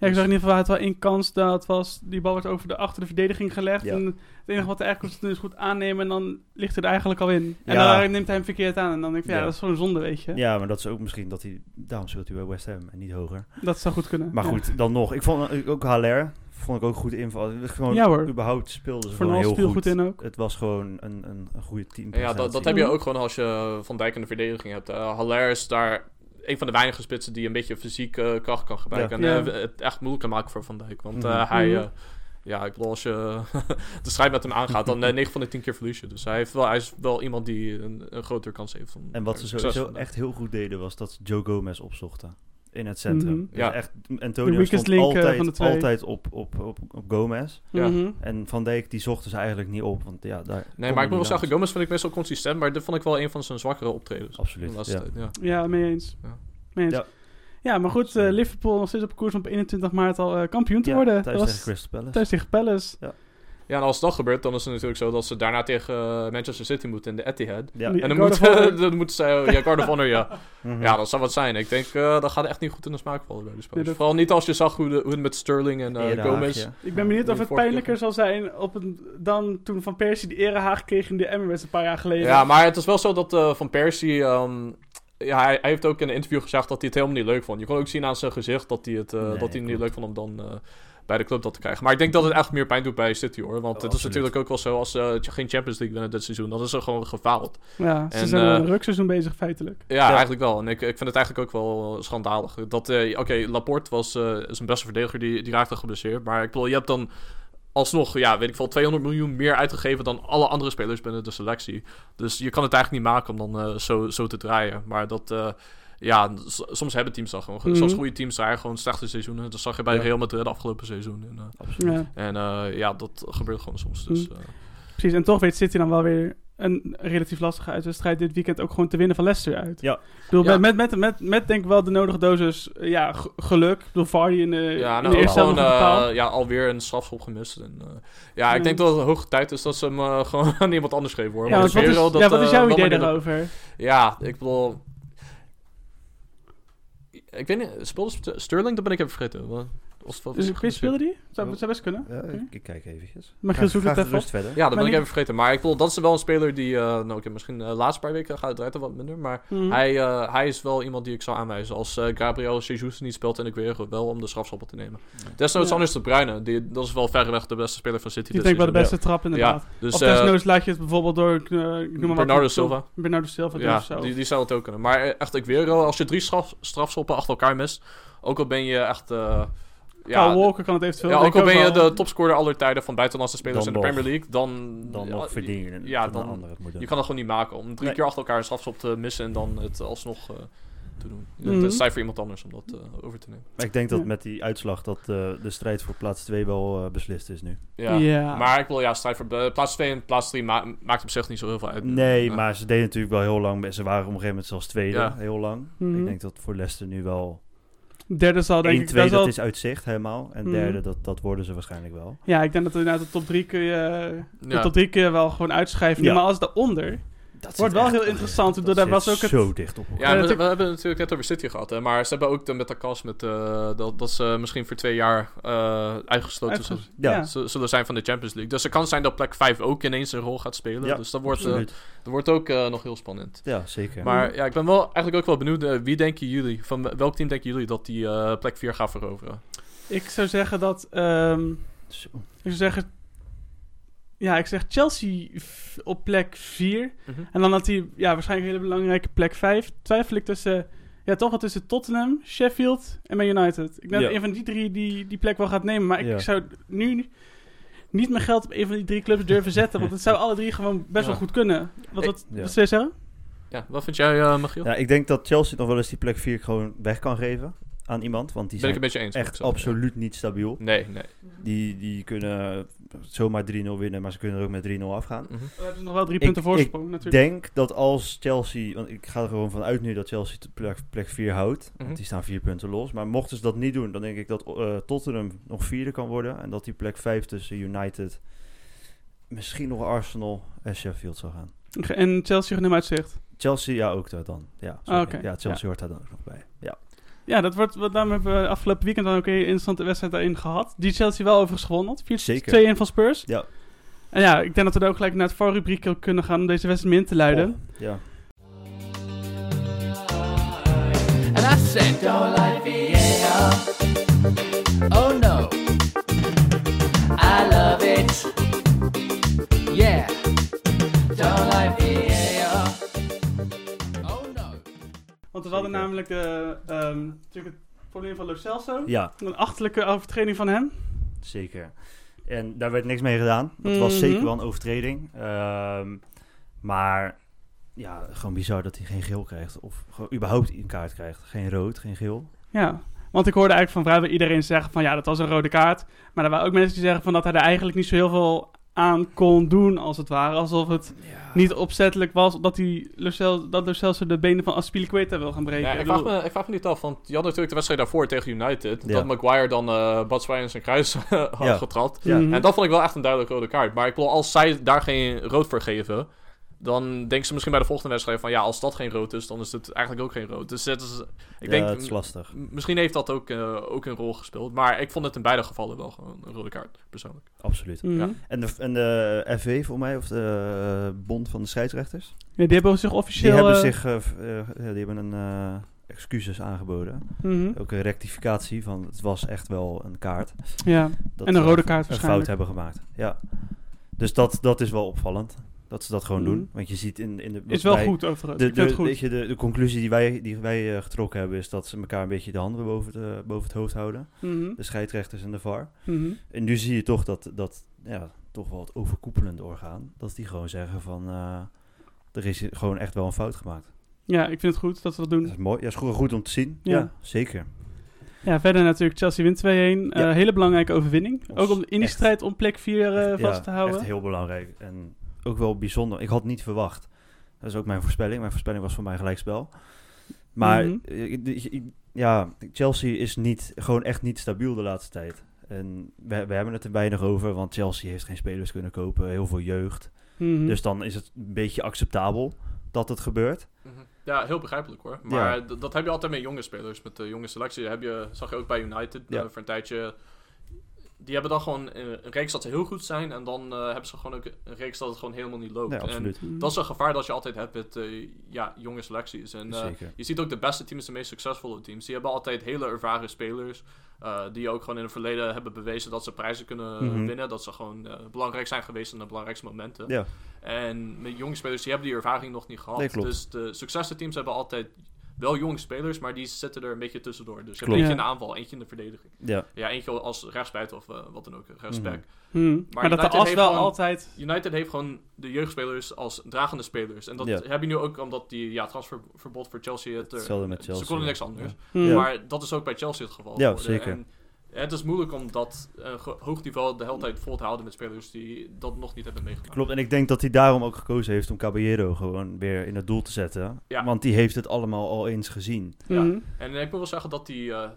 Speaker 2: ik zag in ieder
Speaker 3: Dus-
Speaker 2: geval, hij had wel één kans. Dat was, die bal werd over de achter de verdediging gelegd.
Speaker 3: Ja.
Speaker 2: En het enige wat hij eigenlijk hoeft te doen is goed aannemen. En dan ligt het er eigenlijk al in. En
Speaker 3: Ja.
Speaker 2: dan neemt hij hem verkeerd aan. En dan denk ik, ja,
Speaker 3: Ja.
Speaker 2: dat is gewoon zonde, weet je.
Speaker 3: Ja, maar dat is ook misschien dat hij, daarom speelt hij bij West Ham en niet hoger.
Speaker 2: Dat zou goed kunnen.
Speaker 3: Maar
Speaker 2: Ja.
Speaker 3: goed, dan nog. Ik vond eh, ook Haller, vond ik ook goed inval. Gewoon,
Speaker 2: Ja, hoor.
Speaker 3: Überhaupt speelden ze
Speaker 2: Van
Speaker 3: gewoon
Speaker 2: Hals
Speaker 3: heel
Speaker 2: viel
Speaker 3: goed.
Speaker 2: goed in ook.
Speaker 3: Het was gewoon een, een, een goede team.
Speaker 4: En ja, dat, dat heb je ook gewoon als je Van Dijk in de verdediging hebt. Eh, Haller is daar een van de weinige spitsen die een beetje fysiek eh, kracht kan gebruiken.
Speaker 2: Ja.
Speaker 4: En
Speaker 2: Ja.
Speaker 4: eh, het echt moeilijk kan maken voor Van Dijk. Want eh,
Speaker 3: Mhm.
Speaker 4: hij...
Speaker 2: Mhm.
Speaker 4: eh, ja, ik bedoel, als je (laughs) de strijd met hem aangaat, dan eh, 9 van de 10 keer verlies je. Dus hij, heeft wel, hij is wel iemand die een, een grotere kans heeft. Om, eh,
Speaker 3: En wat ze
Speaker 4: succes
Speaker 3: sowieso
Speaker 4: vandaag.
Speaker 3: echt heel goed deden, was dat ze Joe Gomez opzochten. In het centrum.
Speaker 2: Mhm.
Speaker 3: Dus
Speaker 4: Ja.
Speaker 3: echt,
Speaker 2: De
Speaker 3: Antonio
Speaker 2: weakest
Speaker 3: stond
Speaker 2: link, eh,
Speaker 3: altijd,
Speaker 2: van de twee.
Speaker 3: altijd op, op, op, op Gomez.
Speaker 4: Ja.
Speaker 2: Mhm.
Speaker 3: En Van Dijk, die zochten ze eigenlijk niet op. Want ja, daar
Speaker 4: Nee,
Speaker 3: kon
Speaker 4: maar ik moet wel
Speaker 3: hij niet
Speaker 4: zeggen, Gomez vind ik best wel consistent. Maar dit vond ik wel een van zijn zwakkere optredens.
Speaker 3: aan. Absoluut,
Speaker 4: de laatste
Speaker 3: ja.
Speaker 4: tijd, ja.
Speaker 2: Ja, mee eens.
Speaker 4: Ja.
Speaker 2: Mee eens. Ja.
Speaker 3: Ja.
Speaker 2: maar goed, eh, Liverpool nog steeds op koers om op 21 maart al eh, kampioen te
Speaker 3: Ja,
Speaker 2: worden.
Speaker 3: thuis
Speaker 2: Dat was
Speaker 3: tegen Crystal Palace.
Speaker 2: thuis tegen Palace.
Speaker 4: Ja, en als dat gebeurt, dan is het natuurlijk zo dat ze daarna tegen eh, Manchester City moeten in de Etihad.
Speaker 3: Ja.
Speaker 2: Die-
Speaker 4: En dan
Speaker 2: Guard
Speaker 4: moet,
Speaker 2: of Honor.
Speaker 4: (laughs) dan moet ze, ja, Guard of Honor, ja.
Speaker 3: Mhm.
Speaker 4: Ja, dat zou wat zijn. Ik denk, eh, dat gaat echt niet goed in de smaak vallen bij de spelers.
Speaker 2: Nee, dat-
Speaker 4: Vooral niet als je zag hoe, de, hoe het met Sterling en eh,
Speaker 3: Eerder
Speaker 4: Gomez...
Speaker 3: haakje.
Speaker 2: Ik ben benieuwd
Speaker 4: Die
Speaker 2: of het
Speaker 4: vorige keer
Speaker 2: pijnlijker zal zijn op een, dan toen Van Persie de erehaag kreeg in de Emirates een paar jaar geleden.
Speaker 4: Ja, maar het is wel zo dat eh, Van Persie... ehm, ja, hij, hij heeft ook in een interview gezegd dat hij het helemaal niet leuk vond. Je kon ook zien aan zijn gezicht dat hij het, eh,
Speaker 3: Nee,
Speaker 4: dat hij het niet
Speaker 3: klopt.
Speaker 4: leuk vond om dan... eh, bij de club dat te krijgen. Maar ik denk dat het echt meer pijn doet bij City hoor. Want
Speaker 3: Oh,
Speaker 4: het is
Speaker 3: absoluut.
Speaker 4: natuurlijk ook wel zo als ze geen Champions League winnen dit seizoen. Dan is er gewoon gefaald.
Speaker 2: Ja, ze
Speaker 4: En,
Speaker 2: zijn al
Speaker 4: eh,
Speaker 2: een rugseizoen bezig feitelijk.
Speaker 4: Ja, eigenlijk wel. En ik, ik vind het eigenlijk ook wel schandalig. Dat, eh, Oké, Laporte was, eh, is een beste verdediger, die, die raakte geblesseerd. Maar ik bedoel, je hebt dan alsnog, ja, weet ik veel, 200 miljoen meer uitgegeven dan alle andere spelers binnen de selectie. Dus je kan het eigenlijk niet maken om dan eh, zo, zo te draaien. Maar dat, eh, ja, s- soms hebben teams dat gewoon.
Speaker 2: Mhm.
Speaker 4: Soms goede teams draaien gewoon slechte seizoenen. Dat zag je bij
Speaker 3: Ja.
Speaker 4: Real Madrid afgelopen seizoen. En, eh,
Speaker 3: Absoluut.
Speaker 2: Ja,
Speaker 4: en eh, ja, dat gebeurt gewoon soms. Dus, eh,
Speaker 2: precies. En toch weet City dan wel weer een relatief lastige uitwedstrijd dit weekend ook gewoon te winnen van Leicester uit.
Speaker 3: Ja.
Speaker 2: Ik bedoel,
Speaker 4: Ja.
Speaker 2: Met, met, met, met denk ik wel de nodige dosis eh, ja, g- geluk. Ik bedoel, Vardy in de,
Speaker 4: Ja,
Speaker 2: Eh, in
Speaker 4: nou,
Speaker 2: de
Speaker 4: ook
Speaker 2: eerste helft
Speaker 4: gewoon
Speaker 2: nog een paal.
Speaker 4: eh, ja, alweer een strafschop gemist. En, eh, ja, ik
Speaker 2: Ja.
Speaker 4: denk dat het hoog tijd is dat ze hem eh, (laughs) gewoon aan iemand anders geven, hoor.
Speaker 2: ja,
Speaker 4: Maar
Speaker 2: want
Speaker 4: ik
Speaker 2: wat, is,
Speaker 4: weet wel dat,
Speaker 2: ja, wat is
Speaker 4: eh,
Speaker 2: jouw
Speaker 4: wel
Speaker 2: idee
Speaker 4: maar-
Speaker 2: daarover?
Speaker 4: Ja, ik bedoel... Ik weet niet, speelde Ster- Sterling? Dat ben ik even vergeten. Wat- Of, of,
Speaker 2: Dus wie speelde die? Zou,
Speaker 3: Oh.
Speaker 2: zou best kunnen.
Speaker 3: Ja,
Speaker 2: Oké.
Speaker 3: ik, ik kijk eventjes.
Speaker 2: Maar
Speaker 3: Ga-
Speaker 2: Giel zoekt
Speaker 3: ga
Speaker 2: het even
Speaker 3: gerust verder.
Speaker 4: Ja, dat ben
Speaker 2: Maar
Speaker 4: ik
Speaker 2: niet-
Speaker 4: even vergeten. Maar ik bedoel, dat is wel een speler die... eh, nou, oké, misschien de laatste paar weken gaat het eruit wat minder. Maar
Speaker 3: Hm?
Speaker 2: Mhm.
Speaker 4: hij, eh, hij is wel iemand die ik zou aanwijzen. Als eh, Gabriel Jesus niet speelt en ik weer wel om de strafschoppen te nemen. Desnoods
Speaker 2: Ja.
Speaker 4: anders de Bruyne. Die, dat is wel verreweg de beste speler van City.
Speaker 2: Die
Speaker 4: dit
Speaker 2: denk ik wel de
Speaker 4: seizoen.
Speaker 2: beste trap inderdaad.
Speaker 4: Ja, dus,
Speaker 2: of
Speaker 4: eh,
Speaker 2: desnoods laat je het bijvoorbeeld door, eh, ik noem maar wat,
Speaker 4: Bernardo
Speaker 2: door-
Speaker 4: Silva.
Speaker 2: Bernardo Silva doen
Speaker 4: ja,
Speaker 2: of zo.
Speaker 4: Die, die zou het ook kunnen. Maar eh, echt, ik weer, als je drie straf, strafschoppen achter elkaar mist, ook al ben je echt... eh,
Speaker 2: Kyle
Speaker 4: ja,
Speaker 2: Walker kan het eventueel.
Speaker 4: ja, ook
Speaker 2: denk
Speaker 4: al
Speaker 2: ik
Speaker 4: ben je
Speaker 2: wel.
Speaker 4: de topscorer aller tijden van buitenlandse spelers
Speaker 3: Dan
Speaker 4: in de
Speaker 3: nog.
Speaker 4: Premier League, dan...
Speaker 3: Dan
Speaker 4: ja,
Speaker 3: nog verdienen
Speaker 4: ja,
Speaker 3: van de
Speaker 4: dan-
Speaker 3: anderen het moet doen.
Speaker 4: Je kan dat gewoon niet maken. Om drie
Speaker 3: Nee.
Speaker 4: keer achter elkaar een strafschop te missen en dan het alsnog eh, te doen. Ja,
Speaker 2: Mhm.
Speaker 4: Het is tijd voor iemand anders om dat eh, over te nemen.
Speaker 3: Maar ik denk dat
Speaker 2: Ja.
Speaker 3: met die uitslag dat eh, de strijd voor plaats 2 wel eh, beslist is nu.
Speaker 4: Ja.
Speaker 2: Ja.
Speaker 4: Maar ik wil ja, strijd voor eh, plaats 2 en plaats 3 maakt op zich niet zo heel veel uit.
Speaker 3: Nee,
Speaker 4: Ja.
Speaker 3: maar ze deden natuurlijk wel heel lang. Ze waren op een gegeven moment zelfs tweede,
Speaker 4: Ja.
Speaker 3: heel lang.
Speaker 2: Mhm.
Speaker 3: Ik denk dat voor Leicester nu wel
Speaker 2: Derde zal denk
Speaker 3: 1
Speaker 2: ik...
Speaker 3: 2 dat,
Speaker 2: zal-
Speaker 3: is uit zicht helemaal. En
Speaker 2: Mhm.
Speaker 3: derde, dat, dat worden ze waarschijnlijk wel.
Speaker 2: Ja, ik denk dat inderdaad de top 3 kun je... De
Speaker 4: Ja. Oh,
Speaker 2: top 3 kun je wel gewoon uitschrijven.
Speaker 3: Ja.
Speaker 2: Maar als daaronder...
Speaker 3: Dat
Speaker 2: Wordt wel heel interessant, want
Speaker 3: Dat
Speaker 2: daar
Speaker 3: zit
Speaker 2: was ook het-
Speaker 3: zo dicht op.
Speaker 4: Ja,
Speaker 2: Eh,
Speaker 4: we,
Speaker 2: tu-
Speaker 4: we hebben het natuurlijk net over City gehad, hè, maar ze hebben ook de metacast met, eh, dat, dat ze misschien voor twee jaar eh uitgesloten zullen,
Speaker 2: uitge-
Speaker 3: Ja.
Speaker 2: ja.
Speaker 4: zullen- zullen zijn van de Champions League. Dus het kan zijn dat plek 5 ook ineens een rol gaat spelen.
Speaker 3: Ja,
Speaker 4: dus dat wordt, eh,
Speaker 3: Absoluut.
Speaker 4: dat wordt ook eh, nog heel spannend.
Speaker 3: Ja, zeker.
Speaker 4: Maar ja, ik ben wel eigenlijk ook wel benieuwd, eh, wie denken jullie, van welk team denken jullie dat die eh, plek 4 gaat veroveren?
Speaker 2: Ik zou zeggen dat... ehm,
Speaker 3: Zo.
Speaker 2: ik zou zeggen... Ja, ik zeg Chelsea v- op plek 4.
Speaker 3: Mhm.
Speaker 2: En dan had hij ja, waarschijnlijk een hele belangrijke plek 5. Twijfel ik tussen... Ja, toch wel tussen Tottenham, Sheffield en Man United. Ik denk
Speaker 3: Ja.
Speaker 2: dat een van die drie die, die plek wel gaat nemen. Maar ik
Speaker 3: Ja.
Speaker 2: zou nu niet mijn geld op een van die drie clubs durven zetten. Want het
Speaker 3: (laughs)
Speaker 2: zou alle drie gewoon best
Speaker 4: Ja.
Speaker 2: wel goed kunnen. Wat,
Speaker 4: Ik-
Speaker 2: wat,
Speaker 3: Ja.
Speaker 2: wat zou je zeggen?
Speaker 4: Ja, wat vind jij, eh Michiel?
Speaker 3: Ja, ik denk dat Chelsea nog wel eens die plek 4 gewoon weg kan geven aan iemand. Want die
Speaker 4: ben ik een
Speaker 3: zijn
Speaker 4: beetje eens. moet ik
Speaker 3: echt
Speaker 4: zeggen.
Speaker 3: absoluut niet stabiel.
Speaker 4: Nee, nee.
Speaker 3: Die, die kunnen zomaar 3-0 winnen, maar ze kunnen er ook met 3-0 afgaan.
Speaker 4: Mhm.
Speaker 2: We hebben ze nog wel drie
Speaker 3: Ik-
Speaker 2: punten
Speaker 3: ik
Speaker 2: voorsprong natuurlijk.
Speaker 3: denk dat als Chelsea, want ik ga er gewoon van uit nu dat Chelsea de plek, plek 4 houdt,
Speaker 4: Mhm.
Speaker 3: want die staan 4 punten los. Maar mochten ze dat niet doen, dan denk ik dat eh, Tottenham nog vierde kan worden en dat die plek 5 tussen United, misschien nog Arsenal en Sheffield zal gaan.
Speaker 2: En Chelsea genoemd uitzicht.
Speaker 3: Chelsea, ja, ook daar dan. Ja, sorry.
Speaker 2: Ah, Oké,
Speaker 3: ja Chelsea
Speaker 2: ja.
Speaker 3: hoort daar dan ook nog bij. Ja,
Speaker 2: Ja, dat wordt, wat, daarom hebben we afgelopen weekend dan ook een interessante wedstrijd daarin gehad. Die Chelsea wel overigens gewonnen
Speaker 3: Zeker.
Speaker 2: had. 4-2-1 van Spurs.
Speaker 3: Ja.
Speaker 2: En ja, ik denk dat we daar ook gelijk naar het voorrubriek kunnen gaan om deze wedstrijd min te luiden.
Speaker 3: Oh, ja.
Speaker 5: And I said, don't like Vienna. Oh no. I love it. Yeah. Don't like Vienna. Oh no.
Speaker 2: Want we hadden
Speaker 3: Zeker.
Speaker 2: namelijk de, ehm, natuurlijk het probleem van Lo Celso.
Speaker 3: ja,
Speaker 2: Een achterlijke overtreding van hem.
Speaker 3: zeker. En daar werd niks mee gedaan. Dat
Speaker 2: Mhm.
Speaker 3: was zeker wel een overtreding. Ehm, maar ja, gewoon bizar dat hij geen geel krijgt. Of gewoon überhaupt een kaart krijgt. Geen rood, geen geel.
Speaker 2: Ja. Want ik hoorde eigenlijk van vrijwel iedereen zeggen van ja, dat was een rode kaart. Maar er waren ook mensen die zeggen van dat hij er eigenlijk niet zo heel veel aan kon doen, als het ware. Alsof het niet opzettelijk was dat, hij Lo Celso- dat Lo Celso de benen van Aspilicueta wil gaan breken.
Speaker 4: Ja, ik,
Speaker 2: Ik
Speaker 4: vraag
Speaker 2: bedoel-
Speaker 4: me, ik vraag me niet af, want je had natuurlijk de wedstrijd daarvoor tegen United.
Speaker 3: Ja.
Speaker 4: Dat Maguire dan eh Batshuayi in zijn kruis (laughs) had
Speaker 3: Ja.
Speaker 4: getrapt.
Speaker 3: Ja.
Speaker 2: Mhm.
Speaker 4: En dat vond ik wel echt een duidelijke rode kaart. Maar ik bedoel, als zij daar geen rood voor geven, dan denken ze misschien bij de volgende wedstrijd van ja, als dat geen rood is, dan is het eigenlijk ook geen rood. Dus het is, ik
Speaker 3: ja,
Speaker 4: denk,
Speaker 3: het is lastig.
Speaker 4: m- misschien heeft dat ook, eh, ook een rol gespeeld. Maar ik vond het in beide gevallen wel gewoon een rode kaart, persoonlijk.
Speaker 3: Absoluut.
Speaker 2: Mhm.
Speaker 4: ja.
Speaker 3: En de, en de FV voor mij, of de eh, Bond van de Scheidsrechters,
Speaker 2: Ja, die hebben zich
Speaker 3: die
Speaker 2: officieel...
Speaker 3: hebben,
Speaker 2: eh,
Speaker 3: zich, eh, v- eh, ja, die hebben een eh, excuses aangeboden.
Speaker 2: mhm.
Speaker 3: Ook een rectificatie van het was echt wel een kaart.
Speaker 2: Ja,
Speaker 3: Dat
Speaker 2: en een
Speaker 3: ze
Speaker 2: rode kaart
Speaker 3: een fout
Speaker 2: waarschijnlijk.
Speaker 3: hebben gemaakt. Ja. Dus dat, dat is wel opvallend. Dat ze dat gewoon
Speaker 2: Mhm.
Speaker 3: doen. Want je ziet in, in de. wat
Speaker 2: Is wel
Speaker 3: wij-
Speaker 2: goed overigens.
Speaker 3: De,
Speaker 2: ik vind
Speaker 3: de,
Speaker 2: het goed.
Speaker 3: weet je, de, de conclusie die wij, die wij eh, getrokken hebben is dat ze elkaar een beetje de handen boven het, eh, boven het hoofd houden.
Speaker 2: Mhm.
Speaker 3: De scheidrechters en de VAR.
Speaker 2: Mhm.
Speaker 3: En nu zie je toch dat, dat ja, toch wel het overkoepelende orgaan, dat die gewoon zeggen van, eh, er is hier gewoon echt wel een fout
Speaker 2: Mhm.
Speaker 3: gemaakt.
Speaker 2: Ja, ik vind het goed dat ze dat doen.
Speaker 3: Dat is mooi. Ja, is goed, goed om te zien.
Speaker 2: Ja.
Speaker 3: Ja, zeker.
Speaker 2: Ja, verder natuurlijk Chelsea wint 2-1. Eh,
Speaker 3: Ja.
Speaker 2: hele belangrijke overwinning.
Speaker 3: Ons
Speaker 2: ook om in die
Speaker 3: echt-
Speaker 2: strijd om plek 4 eh,
Speaker 3: Echt,
Speaker 2: vast
Speaker 3: ja,
Speaker 2: te houden.
Speaker 3: Echt heel belangrijk. En ook wel bijzonder. Ik had niet verwacht. Dat is ook mijn voorspelling. Mijn voorspelling was voor mij gelijkspel. Maar
Speaker 2: Mhm.
Speaker 3: eh, ik- ik- ik- ja, Chelsea is niet, gewoon echt niet stabiel de laatste tijd. En we, we hebben het er weinig over, want Chelsea heeft geen spelers kunnen kopen, heel veel jeugd.
Speaker 2: Mhm.
Speaker 3: Dus dan is het een beetje acceptabel dat het gebeurt.
Speaker 4: Mhm. Ja, heel begrijpelijk hoor. Maar d- dat heb je altijd met jonge spelers, met de jonge selectie. Heb je, zag je ook bij United
Speaker 3: Ja.
Speaker 4: eh, voor een tijdje. Die hebben dan gewoon eh, een reeks dat ze heel goed zijn. En dan eh, hebben ze gewoon ook een reeks dat het gewoon helemaal niet loopt.
Speaker 3: Nee,
Speaker 4: En
Speaker 3: absoluut.
Speaker 2: Mhm.
Speaker 4: dat is een gevaar dat je altijd hebt met eh, ja, jonge selecties. En eh,
Speaker 3: Zeker.
Speaker 4: je ziet ook de beste teams, de meest succesvolle teams. Die hebben altijd hele ervaren spelers. eh, die ook gewoon in het verleden hebben bewezen dat ze prijzen kunnen
Speaker 3: Mhm.
Speaker 4: winnen. Dat ze gewoon eh, belangrijk zijn geweest in de belangrijkste momenten.
Speaker 3: Ja,
Speaker 4: En met jonge spelers, die hebben die ervaring nog niet gehad.
Speaker 3: Nee, klopt.
Speaker 4: Dus de succesvolle teams hebben altijd wel jonge spelers, maar die zitten er een beetje tussendoor. Dus je hebt
Speaker 3: Klopt.
Speaker 4: eentje
Speaker 2: Ja.
Speaker 4: in de aanval, eentje in de verdediging.
Speaker 3: ja.
Speaker 4: Ja, eentje als rechtsbuiten of eh, wat dan ook, rechtsback.
Speaker 2: Mhm. Maar, dat de
Speaker 4: United
Speaker 2: as
Speaker 4: heeft
Speaker 2: wel
Speaker 4: gewoon-
Speaker 2: altijd...
Speaker 4: United heeft gewoon de jeugdspelers als dragende spelers. En dat
Speaker 3: Ja.
Speaker 4: heb je nu ook omdat die ja, transferverbod voor Chelsea... Het, er-
Speaker 3: Hetzelfde met Chelsea,
Speaker 4: Ze konden
Speaker 3: ja.
Speaker 4: niks anders.
Speaker 2: Mhm.
Speaker 4: Maar dat is ook bij Chelsea het geval.
Speaker 3: Ja,
Speaker 4: geworden.
Speaker 3: zeker.
Speaker 4: En het is moeilijk om dat eh, ge- hoog niveau de hele tijd vol te houden met spelers die dat nog niet hebben meegemaakt.
Speaker 3: Klopt, en ik denk dat hij daarom ook gekozen heeft om Caballero gewoon weer in het doel te zetten.
Speaker 4: Ja.
Speaker 3: Want die heeft het allemaal al eens gezien.
Speaker 4: ja.
Speaker 2: Mhm.
Speaker 4: En ik moet wel zeggen dat hij... eh,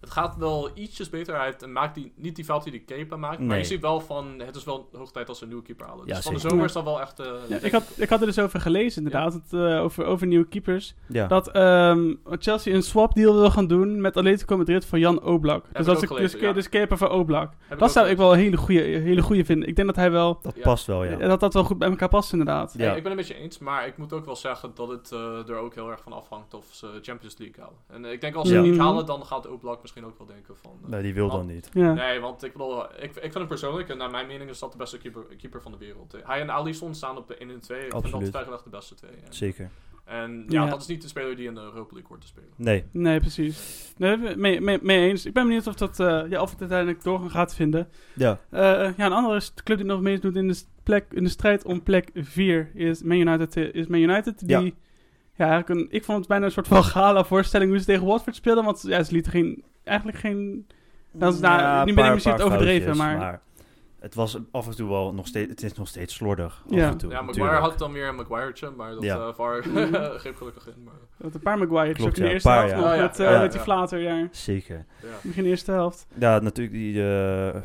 Speaker 4: het gaat wel ietsjes beter. Hij heeft- maakt die, niet die fout die de keeper maakt. Maar
Speaker 3: Nee.
Speaker 4: je ziet wel van... Het is wel hoog tijd als ze een nieuwe keeper halen.
Speaker 3: Ja,
Speaker 4: dus van de
Speaker 3: zeker.
Speaker 4: zomer is dat wel echt... eh,
Speaker 2: Ja, ik,
Speaker 4: denk-
Speaker 2: had, ik had er dus over gelezen, inderdaad, het, eh, over, over nieuwe keepers.
Speaker 3: Ja,
Speaker 2: Dat ehm, Chelsea een swap deal wil gaan doen met Atletico Madrid voor Jan Oblak.
Speaker 4: ik
Speaker 2: dus dat
Speaker 4: ook
Speaker 2: is een-
Speaker 4: gelezen,
Speaker 2: dus, ke-
Speaker 4: ja.
Speaker 2: dus keeper voor Oblak.
Speaker 4: heb ik
Speaker 2: dat
Speaker 4: ook
Speaker 2: zou
Speaker 4: wel
Speaker 2: ik wel een hele goede, hele goede vinden. Ik denk dat hij wel,
Speaker 3: dat
Speaker 4: Oh, ja.
Speaker 3: past wel, ja.
Speaker 2: dat dat wel goed bij elkaar past, inderdaad.
Speaker 3: Ja.
Speaker 4: Ja. ik ben het met je eens, maar ik moet ook wel zeggen dat het eh, er ook heel erg van afhangt of ze Champions League halen. En eh, ik denk als ze
Speaker 2: Ja.
Speaker 4: het niet
Speaker 2: Mhm.
Speaker 4: halen, dan gaat Oblak misschien ook wel denken van... eh,
Speaker 3: Nee, die wil dan niet.
Speaker 2: Ja.
Speaker 4: Nee, want ik bedoel, ik, ik vind hem persoonlijk, en naar mijn mening is dat de beste keeper, keeper van de wereld. Eh, Hij en Alisson staan op de 1 en 2. Ik vind
Speaker 3: Absoluut.
Speaker 4: dat verreweg de beste twee. En,
Speaker 3: Zeker.
Speaker 4: en ja,
Speaker 2: Ja.
Speaker 4: dat is niet de speler die in de Europa League hoort te spelen.
Speaker 3: Nee,
Speaker 2: Nee, precies. Nee, mee, mee, mee eens. Ik ben benieuwd of, dat, eh, ja, of het uiteindelijk doorgaan gaat vinden.
Speaker 3: ja.
Speaker 2: Eh, ja, een andere st- club die nog meedoet in de, st- plek, in de strijd om plek 4 is Man United. eh, Is Man United die,
Speaker 3: Ja.
Speaker 2: ja. eigenlijk een, ik vond het bijna een soort van gala voorstelling hoe ze tegen Watford speelden. Want ja, ze lieten geen, eigenlijk geen... Dat is nou- nu ben ik misschien het overdreven, maar-
Speaker 3: Het was af en toe wel nog steeds, het is nog steeds slordig.
Speaker 2: Ja.
Speaker 3: Af en toe,
Speaker 4: Ja, Maguire
Speaker 3: natuurlijk.
Speaker 4: had dan weer een Maguire'tje, maar dat
Speaker 3: Ja.
Speaker 2: (laughs)
Speaker 4: eh VAR (laughs)
Speaker 2: Mhm.
Speaker 4: greep gelukkig in. Maar,
Speaker 2: Dat een paar Maguire's
Speaker 3: Klopt,
Speaker 2: ook in
Speaker 3: ja,
Speaker 2: de eerste
Speaker 3: een paar,
Speaker 2: helft
Speaker 3: ja.
Speaker 2: nog
Speaker 4: Oh, ja,
Speaker 2: met, eh,
Speaker 3: ja,
Speaker 2: met die
Speaker 4: ja.
Speaker 2: flater, ja.
Speaker 3: Zeker.
Speaker 4: ja.
Speaker 2: Begin eerste helft.
Speaker 3: Ja, natuurlijk, die, eh,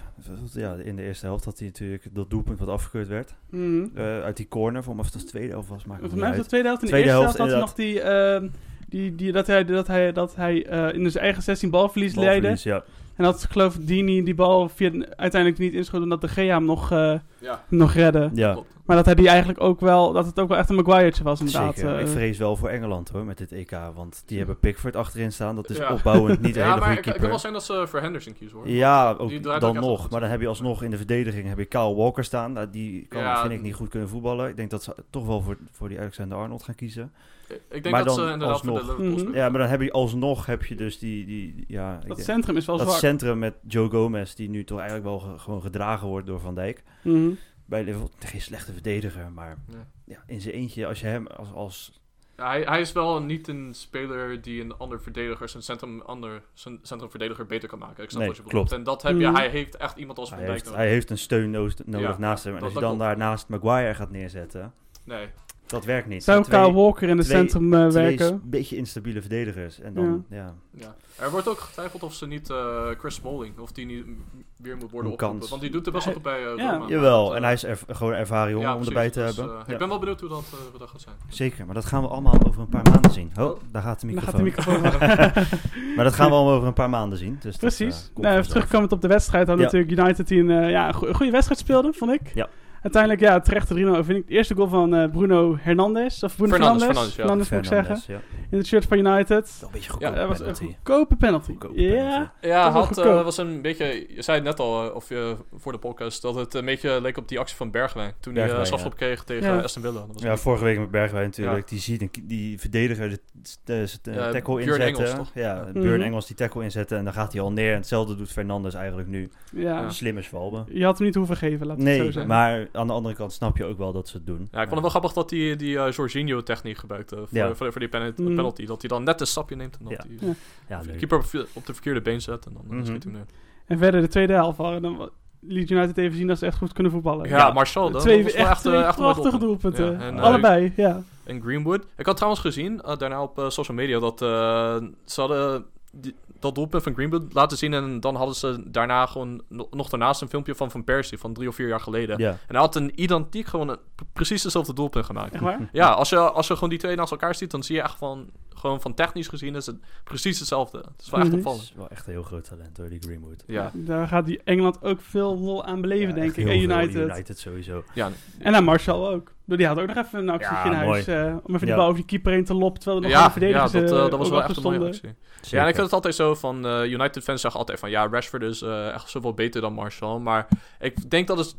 Speaker 3: ja, in de eerste helft had hij natuurlijk dat doelpunt wat afgekeurd werd.
Speaker 2: Mhm.
Speaker 3: Eh, uit die corner, voor me of het de tweede helft was, maakt het
Speaker 2: Volgens
Speaker 3: niet
Speaker 2: mij was het
Speaker 3: uit.
Speaker 2: de tweede helft. In de
Speaker 3: Tweede
Speaker 2: eerste
Speaker 3: helft,
Speaker 2: helft, had hij nog die... ehm, die, die, dat hij, dat hij, dat hij eh, in zijn eigen 16 balverlies, leidde.
Speaker 3: Balverlies, ja.
Speaker 2: En dat geloof ik Dini die bal via, uiteindelijk niet inschoot omdat de Gea hem nog, eh,
Speaker 4: ja.
Speaker 2: hem nog redde.
Speaker 3: ja.
Speaker 4: Klopt.
Speaker 2: Maar dat hij die eigenlijk ook wel, dat het ook wel echt een Maguire'tje was inderdaad.
Speaker 3: Zeker.
Speaker 2: eh.
Speaker 3: ik vrees wel voor Engeland hoor, met dit EK. Want die hebben Pickford achterin staan. Dat is
Speaker 4: Ja.
Speaker 3: opbouwend
Speaker 4: (laughs)
Speaker 3: niet een
Speaker 4: Ja,
Speaker 3: hele
Speaker 4: maar
Speaker 3: goede
Speaker 4: het het kan wel
Speaker 3: keeper.
Speaker 4: zijn dat ze voor Henderson kiezen hoor.
Speaker 3: Ja,
Speaker 4: Die
Speaker 3: ook
Speaker 4: draait ook
Speaker 3: dan
Speaker 4: echt wel
Speaker 3: nog.
Speaker 4: goed.
Speaker 3: Maar dan heb je alsnog in de verdediging heb je Kyle Walker staan. Nou, die kan,
Speaker 4: Ja,
Speaker 3: vind ik,
Speaker 4: d-
Speaker 3: niet goed kunnen voetballen. Ik denk dat ze toch wel voor, voor die Alexander-Arnold gaan kiezen.
Speaker 4: Ik denk
Speaker 3: Maar
Speaker 4: dat
Speaker 3: dan
Speaker 4: ze inderdaad voor de
Speaker 3: alsnog.
Speaker 4: Liverpool
Speaker 2: Mhm.
Speaker 4: spelen.
Speaker 3: Ja, maar dan heb je alsnog heb je dus die... die ja, ik
Speaker 2: dat
Speaker 3: denk-
Speaker 2: centrum is wel
Speaker 3: dat
Speaker 2: zwak.
Speaker 3: centrum met Joe Gomez, die nu toch eigenlijk wel ge- gewoon gedragen wordt door Van Dijk.
Speaker 2: Mhm.
Speaker 3: Bij Liverpool, geen slechte verdediger, maar
Speaker 4: Ja.
Speaker 3: ja, in zijn eentje, als je hem als, als
Speaker 4: Ja, hij, hij is wel niet een speler die een ander verdediger, zijn, centrum, ander, zijn centrumverdediger beter kan maken. Ik snap
Speaker 3: Nee,
Speaker 4: wat je bedoelt.
Speaker 3: klopt.
Speaker 4: En dat heb je,
Speaker 2: Mhm.
Speaker 4: hij heeft echt iemand als Van
Speaker 3: Hij
Speaker 4: Dijk
Speaker 3: heeft,
Speaker 4: nodig.
Speaker 3: hij heeft een steun noos- nodig
Speaker 4: Ja,
Speaker 3: naast hem. En
Speaker 4: dat-
Speaker 3: als je
Speaker 4: dat
Speaker 3: dan
Speaker 4: klopt.
Speaker 3: daarnaast Maguire gaat neerzetten,
Speaker 4: Nee,
Speaker 3: dat werkt niet.
Speaker 2: Zou
Speaker 3: Het zijn
Speaker 2: Kyle Walker in het
Speaker 3: twee-
Speaker 2: centrum eh,
Speaker 3: twee
Speaker 2: werken?
Speaker 3: s- beetje instabiele verdedigers. En dan, ja,
Speaker 4: ja. Er wordt ook getwijfeld of ze niet eh, Chris Smalling, of die niet m- weer moet worden
Speaker 3: Een kans.
Speaker 4: opgeroepen. Want die doet er best wel goed bij eh,
Speaker 2: Ja.
Speaker 4: Roma.
Speaker 3: jawel.
Speaker 4: Dat, eh,
Speaker 3: en hij is erv- gewoon ervaren jongen
Speaker 4: ja,
Speaker 3: om
Speaker 4: precies.
Speaker 3: erbij te
Speaker 4: Dus,
Speaker 3: hebben.
Speaker 4: eh,
Speaker 3: Ja,
Speaker 4: Ik ben wel benieuwd hoe dat, eh, hoe dat gaat zijn.
Speaker 3: Zeker, maar dat gaan we allemaal over een paar maanden zien. Oh, daar gaat de
Speaker 2: Dan
Speaker 3: microfoon.
Speaker 2: gaat de microfoon
Speaker 3: (laughs)
Speaker 2: af.
Speaker 3: maar dat gaan we allemaal over een paar maanden zien. Dus dat, eh,
Speaker 2: (laughs) Precies.
Speaker 3: komt
Speaker 2: nou, even
Speaker 3: vanzelf.
Speaker 2: terugkomend op de wedstrijd had
Speaker 3: Ja.
Speaker 2: natuurlijk United die een eh, ja, een goe- een goede wedstrijd speelde, vond ik.
Speaker 3: Ja.
Speaker 2: Uiteindelijk, ja, terecht de 3-0 overwinning. De eerste goal van eh, Bruno Hernandez. Of Bruno
Speaker 4: Fernandes,
Speaker 2: Fernandes.
Speaker 4: Fernandes, ja.
Speaker 2: moet ik zeggen.
Speaker 3: Fernandes, ja.
Speaker 2: In het shirt van United.
Speaker 3: Wel een beetje
Speaker 4: Ja,
Speaker 3: goedkoop
Speaker 2: dat was
Speaker 3: penalty.
Speaker 2: een goedkope penalty.
Speaker 3: Goedkope
Speaker 2: Ja.
Speaker 3: penalty.
Speaker 4: Ja,
Speaker 2: Dat was
Speaker 4: had,
Speaker 2: goedkoop.
Speaker 4: eh, was een beetje, je zei het net al eh, of je, voor de podcast, dat het een beetje leek op die actie van Bergwijn. Toen hij
Speaker 3: Bergwijn,
Speaker 4: eh strafschop
Speaker 3: ja.
Speaker 4: kreeg tegen
Speaker 2: Ja.
Speaker 4: Aston Villa. Dat was
Speaker 3: Ja,
Speaker 4: een-
Speaker 3: vorige week met Bergwijn natuurlijk. Die ziet een, k- die verdediger de, de, de
Speaker 4: Ja,
Speaker 3: tackle
Speaker 4: Björn
Speaker 3: inzetten.
Speaker 4: Engels, toch?
Speaker 3: Ja,
Speaker 4: Ja.
Speaker 3: Björn
Speaker 2: Mhm.
Speaker 3: Engels die tackle inzetten en dan gaat hij al neer. En hetzelfde doet Fernandes eigenlijk nu.
Speaker 2: Ja.
Speaker 3: Slimme zwalbe.
Speaker 2: Je had hem niet hoeven geven, laat ik het zo
Speaker 3: Nee,
Speaker 2: zeggen.
Speaker 3: maar aan de andere kant snap je ook wel dat ze het doen.
Speaker 4: Ja, ik vond het wel grappig dat hij die eh, Jorginho-techniek gebruikte voor,
Speaker 3: Ja.
Speaker 4: voor, voor die penalty,
Speaker 2: Mhm.
Speaker 4: penalty. Dat hij dan net een stapje neemt en dat
Speaker 3: Ja.
Speaker 4: hij
Speaker 2: Ja.
Speaker 3: Ja, leuk.
Speaker 4: keeper op, op de verkeerde been zet en dan eh,
Speaker 3: Mhm.
Speaker 4: schiet hij hem neer.
Speaker 2: En verder de tweede helft waren dan wa- liet United even zien dat ze echt goed kunnen voetballen.
Speaker 4: Ja, Marcel dan.
Speaker 2: twee
Speaker 4: dat was wel
Speaker 2: echt,
Speaker 4: echt,
Speaker 2: twee
Speaker 4: eh, echt een mooi
Speaker 2: prachtige doelpunten.
Speaker 4: Ja, en, eh,
Speaker 2: Allebei, ja.
Speaker 4: in Greenwood. Ik had trouwens gezien, eh, daarna op eh, social media, dat eh, ze hadden die- dat doelpunt van Greenwood laten zien. En dan hadden ze daarna gewoon no- nog daarnaast een filmpje van Van Persie van drie of vier jaar geleden.
Speaker 3: Ja.
Speaker 4: En hij had een identiek gewoon een- p- precies hetzelfde doelpunt gemaakt.
Speaker 2: Echt waar?
Speaker 4: Ja, als je, als je gewoon die twee naast elkaar ziet, dan zie je echt van, gewoon van technisch gezien is het precies hetzelfde. Het is wel echt
Speaker 2: Mhm.
Speaker 3: Dat
Speaker 4: opvallend.
Speaker 3: is wel echt een heel groot talent hoor, die Greenwood.
Speaker 4: Ja,
Speaker 2: (laughs) Daar gaat die Engeland ook veel lol aan beleven,
Speaker 3: Ja,
Speaker 2: denk
Speaker 3: echt
Speaker 2: ik. En
Speaker 3: heel veel.
Speaker 2: United.
Speaker 3: United sowieso.
Speaker 4: ja,
Speaker 2: En aan Marcel ook. Die had ook nog even een actie
Speaker 3: Ja,
Speaker 2: in
Speaker 3: mooi.
Speaker 2: huis. eh, om even de
Speaker 3: Ja.
Speaker 2: bal over die keeper heen te lopen. Terwijl er nog
Speaker 4: ja,
Speaker 2: een verdediger
Speaker 4: ja, dat, eh, dat was wel echt een mooie
Speaker 2: stonden.
Speaker 4: actie. Ja, en ik vind het altijd zo van eh, United fans zeggen altijd van ja, Rashford is eh, echt zoveel beter dan Martial. Maar ik denk dat het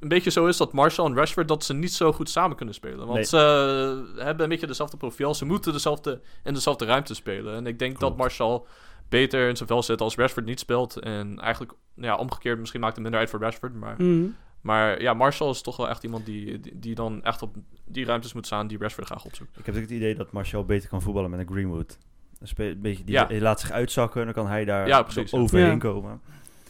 Speaker 4: een beetje zo is dat Martial en Rashford dat ze niet zo goed samen kunnen spelen. Want
Speaker 3: Nee.
Speaker 4: ze eh, hebben een beetje dezelfde profiel. Ze moeten dezelfde, in dezelfde ruimte spelen. En ik denk dat
Speaker 3: Klopt.
Speaker 4: Martial beter in zijn vel zit als Rashford niet speelt. En eigenlijk ja, omgekeerd, misschien maakt het minder uit voor Rashford. Maar,
Speaker 3: Hm.
Speaker 2: Mhm.
Speaker 4: maar ja, Martial is toch wel echt iemand die, die, die dan echt op die ruimtes moet staan die Rashford graag opzoekt.
Speaker 3: Ik heb ook het idee dat Martial beter kan voetballen met een Greenwood. Dan speel- Een beetje die,
Speaker 4: Ja.
Speaker 3: die laat zich uitzakken en dan kan hij daar
Speaker 4: Ja, precies, ja.
Speaker 3: overheen
Speaker 2: Ja.
Speaker 3: komen.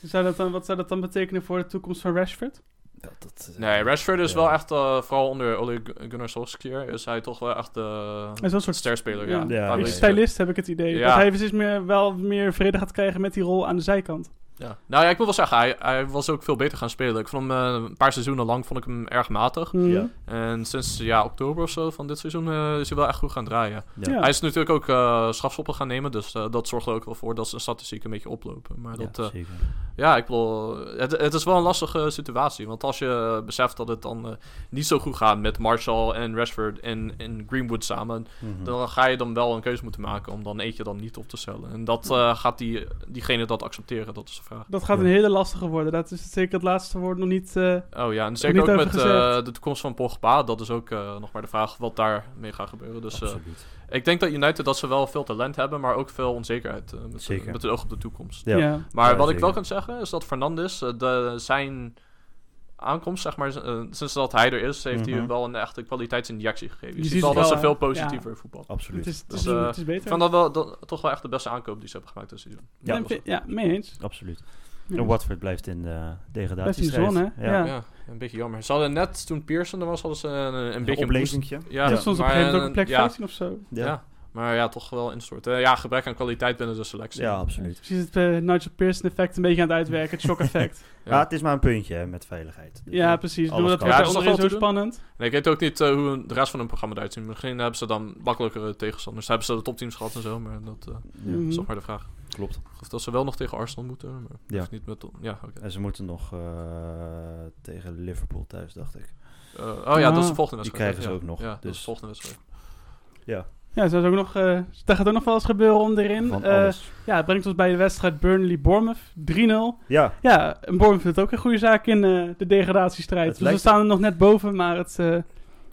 Speaker 2: Zou dat dan, wat zou dat dan betekenen voor de toekomst van Rashford?
Speaker 3: Dat, dat, eh,
Speaker 4: Nee, Rashford is
Speaker 3: Ja.
Speaker 4: wel echt, eh, vooral onder Ole Gun- Gunnar Solskjaer, is hij toch wel echt eh
Speaker 2: Hij is wel een
Speaker 4: een
Speaker 2: soort
Speaker 4: sterspeler.
Speaker 2: ja,
Speaker 4: Ja.
Speaker 2: een
Speaker 4: Ja,
Speaker 3: beetje
Speaker 4: weet je.
Speaker 2: stylist, heb ik het idee.
Speaker 4: Ja.
Speaker 2: Dat hij dus meer, wel meer vrede gaat krijgen met die rol aan de zijkant.
Speaker 4: Ja. Nou ja, ik moet wel zeggen, hij, hij was ook veel beter gaan spelen. Ik vond hem eh, een paar seizoenen lang vond ik hem erg matig.
Speaker 2: Mhm.
Speaker 3: Ja.
Speaker 4: En sinds ja, oktober of zo van dit seizoen eh, is hij wel echt goed gaan draaien.
Speaker 2: Ja.
Speaker 4: Hij is natuurlijk ook eh strafschoppen gaan nemen, dus eh, dat zorgt er ook wel voor dat zijn statistieken een beetje oplopen. Maar dat, eh,
Speaker 3: zeker.
Speaker 4: Ja, ik bedoel, het, het is wel een lastige situatie. Want als je eh, beseft dat het dan eh, niet zo goed gaat met Marshall en Rashford en, en Greenwood samen,
Speaker 3: Mhm.
Speaker 4: dan ga je dan wel een keuze moeten maken om dan eentje dan niet op te stellen. En dat eh, gaat die, diegene dat accepteren, dat is de vraag.
Speaker 2: Dat gaat
Speaker 3: Ja.
Speaker 2: een hele lastige worden. Dat is zeker het laatste woord nog niet. eh,
Speaker 4: Oh ja, en
Speaker 2: niet
Speaker 4: zeker ook
Speaker 2: over
Speaker 4: met
Speaker 2: gezegd.
Speaker 4: eh, de toekomst van Pogba, dat is ook eh, nog maar de vraag wat daarmee gaat gebeuren. Dus eh,
Speaker 3: Absoluut.
Speaker 4: ik denk dat United dat ze wel veel talent hebben, maar ook veel onzekerheid eh, met,
Speaker 3: Zeker.
Speaker 4: met het oog op de toekomst.
Speaker 3: Ja.
Speaker 2: ja.
Speaker 4: Maar
Speaker 3: Ja,
Speaker 4: wat ik
Speaker 3: zeker.
Speaker 4: wel kan zeggen is dat Fernandes, eh, de, zijn aankomst, zeg maar, z- eh, sinds dat hij er is, heeft hij
Speaker 3: Mhm.
Speaker 4: wel een echte kwaliteitsinjectie gegeven. Je,
Speaker 2: Je
Speaker 4: ziet
Speaker 2: ziet
Speaker 4: wel
Speaker 2: het
Speaker 4: dat ze
Speaker 2: wel,
Speaker 4: veel
Speaker 2: hè?
Speaker 4: positiever voetbal.
Speaker 3: Absoluut.
Speaker 2: Het is, het
Speaker 4: Dus,
Speaker 2: is,
Speaker 4: eh,
Speaker 2: het is
Speaker 4: Ik
Speaker 2: beter.
Speaker 4: vond dat wel dat, toch wel echt de beste aankoop die ze hebben gemaakt dit seizoen.
Speaker 3: Ja.
Speaker 2: Nee, ja, mee eens.
Speaker 3: Absoluut.
Speaker 2: Ja.
Speaker 3: En Watford blijft in de
Speaker 2: Best in de
Speaker 3: degradatie.
Speaker 2: zon, hè? Ja.
Speaker 4: Ja. een beetje jammer. Ze hadden net, toen Pearson er was, hadden ze een, een beetje een boost.
Speaker 3: oplevingje.
Speaker 4: Ja,
Speaker 2: Dat stond op een
Speaker 4: maar,
Speaker 2: gegeven moment ook op
Speaker 4: eh,
Speaker 2: plek
Speaker 4: ja,
Speaker 2: 15 of zo.
Speaker 4: ja.
Speaker 3: Ja. Ja.
Speaker 4: maar ja, toch wel instorten. Ja, gebrek aan kwaliteit binnen de selectie.
Speaker 3: absoluut.
Speaker 2: Precies het eh, Nigel Pearson effect een beetje aan het uitwerken. Het shock
Speaker 3: (laughs)
Speaker 2: effect.
Speaker 4: Ja.
Speaker 3: Ja. Ah, het is maar een puntje hè, met veiligheid. Dus,
Speaker 2: ja,
Speaker 3: eh,
Speaker 2: precies.
Speaker 3: Alles
Speaker 2: Doe dat
Speaker 3: kan.
Speaker 2: wordt
Speaker 4: Ja,
Speaker 2: daar
Speaker 4: dat is
Speaker 2: onderin
Speaker 4: toch
Speaker 2: zo
Speaker 4: wel te doen?
Speaker 2: spannend.
Speaker 4: En ik weet ook niet eh, hoe de rest van hun programma eruit ziet. Misschien hebben ze dan makkelijkere tegenstanders. Hebben ze de topteams gehad en zo, maar dat eh,
Speaker 3: ja,
Speaker 2: Mhm.
Speaker 4: is toch maar de vraag.
Speaker 3: Klopt.
Speaker 4: Of dat ze wel nog tegen Arsenal moeten. Maar
Speaker 3: Ja.
Speaker 4: of niet met. Ja, oké.
Speaker 3: En ze moeten nog eh, tegen Liverpool thuis, dacht ik.
Speaker 4: Eh, oh ja, dat is de
Speaker 2: Ah.
Speaker 3: Nou,
Speaker 4: volgende wedstrijd.
Speaker 3: Die krijgen
Speaker 4: ja.
Speaker 3: ze
Speaker 4: Ja.
Speaker 3: ook nog,
Speaker 4: Ja, dat
Speaker 3: dus-
Speaker 4: is de volgende wedstrijd.
Speaker 2: Ja, zo is ook nog, eh, daar gaat ook nog wel eens gebeuren onderin.
Speaker 3: Van
Speaker 2: Eh,
Speaker 3: alles.
Speaker 2: ja, het brengt ons bij de wedstrijd Burnley-Bournemouth. 3-0.
Speaker 3: Ja,
Speaker 2: Ja, en Bournemouth doet ook een goede zaak in eh, de degradatiestrijd.
Speaker 3: Het
Speaker 2: dus
Speaker 3: lijkt-
Speaker 2: we staan er nog net boven, maar het eh,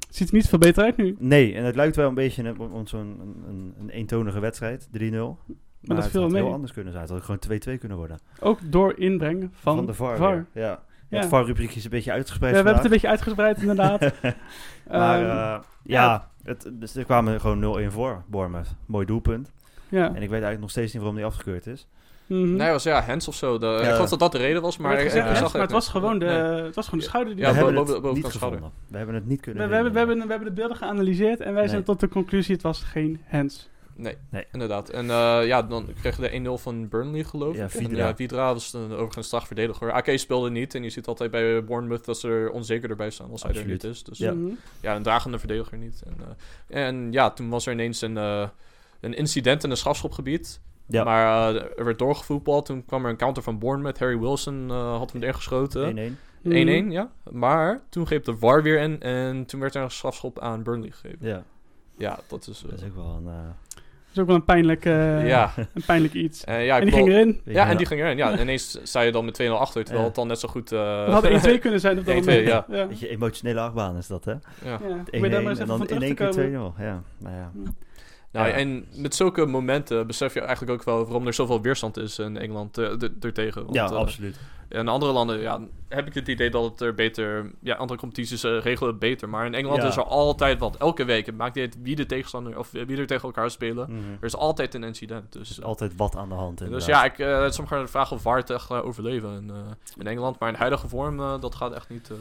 Speaker 2: ziet er niet veel beter uit nu.
Speaker 3: nee, en het lijkt wel een beetje een- op zo'n een, een, een eentonige wedstrijd, 3-0. Maar,
Speaker 2: Maar dat
Speaker 3: het
Speaker 2: viel
Speaker 3: had
Speaker 2: mee.
Speaker 3: heel anders kunnen zijn. Het had ook gewoon 2-2 kunnen worden.
Speaker 2: Ook door inbreng van,
Speaker 3: de VAR. weer. Ja.
Speaker 2: Ja.
Speaker 3: Het VAR-rubriekje is een beetje
Speaker 2: Ja,
Speaker 3: uitgespreid
Speaker 2: we hebben het een
Speaker 3: vandaag.
Speaker 2: beetje
Speaker 3: (laughs)
Speaker 2: uitgespreid inderdaad. Eh,
Speaker 3: Maar
Speaker 2: Ehm,
Speaker 3: eh,
Speaker 2: ja.
Speaker 3: ja, het, dus er kwamen gewoon 0-1 voor, Bournemouth. Mooi doelpunt.
Speaker 2: ja.
Speaker 3: En ik weet eigenlijk nog steeds niet waarom die afgekeurd is.
Speaker 2: Mhm.
Speaker 4: Nee, was ja, Hens of zo. De, Ik
Speaker 3: Hm? Ja.
Speaker 4: geloof dat dat de reden was, maar.
Speaker 2: maar,
Speaker 4: ik- ik
Speaker 2: gezegd,
Speaker 4: zag
Speaker 2: hè,
Speaker 4: het
Speaker 2: maar het
Speaker 4: niet.
Speaker 2: was gewoon de,
Speaker 4: Nee.
Speaker 2: het was gewoon de
Speaker 4: Ja.
Speaker 2: schouder die
Speaker 4: Ja,
Speaker 3: we hebben
Speaker 4: boven-
Speaker 3: het
Speaker 4: boven
Speaker 3: niet
Speaker 4: de schouder.
Speaker 3: gevonden. We hebben het niet kunnen
Speaker 2: we, we hebben, we,
Speaker 3: vinden.
Speaker 2: hebben, we hebben de beelden geanalyseerd en wij zijn
Speaker 3: Nee.
Speaker 2: tot de conclusie, het was geen hands.
Speaker 4: Nee,
Speaker 3: Nee.
Speaker 4: inderdaad. En eh, ja, dan kreeg je de 1-0 van Burnley, geloof ik.
Speaker 3: Ja,
Speaker 4: En,
Speaker 3: Vidra.
Speaker 4: ja, Vidra was een, overigens slagverdediger. AK speelde niet. En je ziet altijd bij Bournemouth dat ze er onzeker erbij staan als hij er
Speaker 3: Absoluut.
Speaker 4: niet is. Dus
Speaker 3: Ja.
Speaker 2: Mhm.
Speaker 4: ja, een dragende verdediger niet. En, eh, en ja, toen was er ineens een, eh, een incident in een strafschopgebied.
Speaker 3: Ja.
Speaker 4: Maar eh, er werd doorgevoetbald. Toen kwam er een counter van Bournemouth. Harry Wilson eh, had hem erin geschoten. 1-1,
Speaker 3: 1-1.
Speaker 2: Mhm.
Speaker 4: ja. Maar toen greep de VAR weer in. En toen werd er een strafschop aan Burnley gegeven.
Speaker 3: Ja,
Speaker 4: Ja, dat is... eh,
Speaker 3: dat is ook wel een... eh,
Speaker 2: Dat is ook wel een pijnlijk, eh,
Speaker 3: (laughs)
Speaker 4: ja.
Speaker 2: een pijnlijk iets.
Speaker 4: Eh, ja,
Speaker 2: en
Speaker 4: ik
Speaker 2: die
Speaker 4: bedoel-
Speaker 2: ging erin.
Speaker 4: Ja, en die ging erin. Ja, ineens sta je dan met 2-0 achter. Terwijl
Speaker 3: Ja.
Speaker 4: het dan net zo goed... eh,
Speaker 2: Dat
Speaker 4: (laughs)
Speaker 2: had 1-2 kunnen zijn op dat
Speaker 4: 1-2,
Speaker 2: moment.
Speaker 4: ja.
Speaker 2: ja.
Speaker 3: Weet je, emotionele achtbaan is dat, hè? 1-1
Speaker 4: ja.
Speaker 2: Ja. Probeer daar maar eens
Speaker 3: en
Speaker 2: even van
Speaker 3: dan in
Speaker 2: terug
Speaker 3: één
Speaker 2: te
Speaker 3: keer 2-0.
Speaker 2: komen.
Speaker 3: Ja, nou ja.
Speaker 4: Nou,
Speaker 3: Ja.
Speaker 4: En met zulke momenten besef je eigenlijk ook wel waarom er zoveel weerstand is in Engeland eh, d- ertegen. Want,
Speaker 3: ja,
Speaker 4: eh,
Speaker 3: absoluut.
Speaker 4: In andere landen ja, heb ik het idee dat het er beter... Ja, andere competities eh, regelen het beter. Maar in Engeland
Speaker 3: Ja.
Speaker 4: is er altijd wat. Elke week. Het maakt niet uit wie de tegenstander... of wie er tegen elkaar spelen.
Speaker 3: Mhm.
Speaker 4: Er is altijd een incident. Dus,
Speaker 3: Er is altijd wat aan de hand.
Speaker 4: dus
Speaker 3: inderdaad.
Speaker 4: ja, ik, eh soms gaan de vraag of VAR het echt eh, overleven in, eh, in Engeland. Maar in huidige vorm, eh, dat gaat echt niet... eh,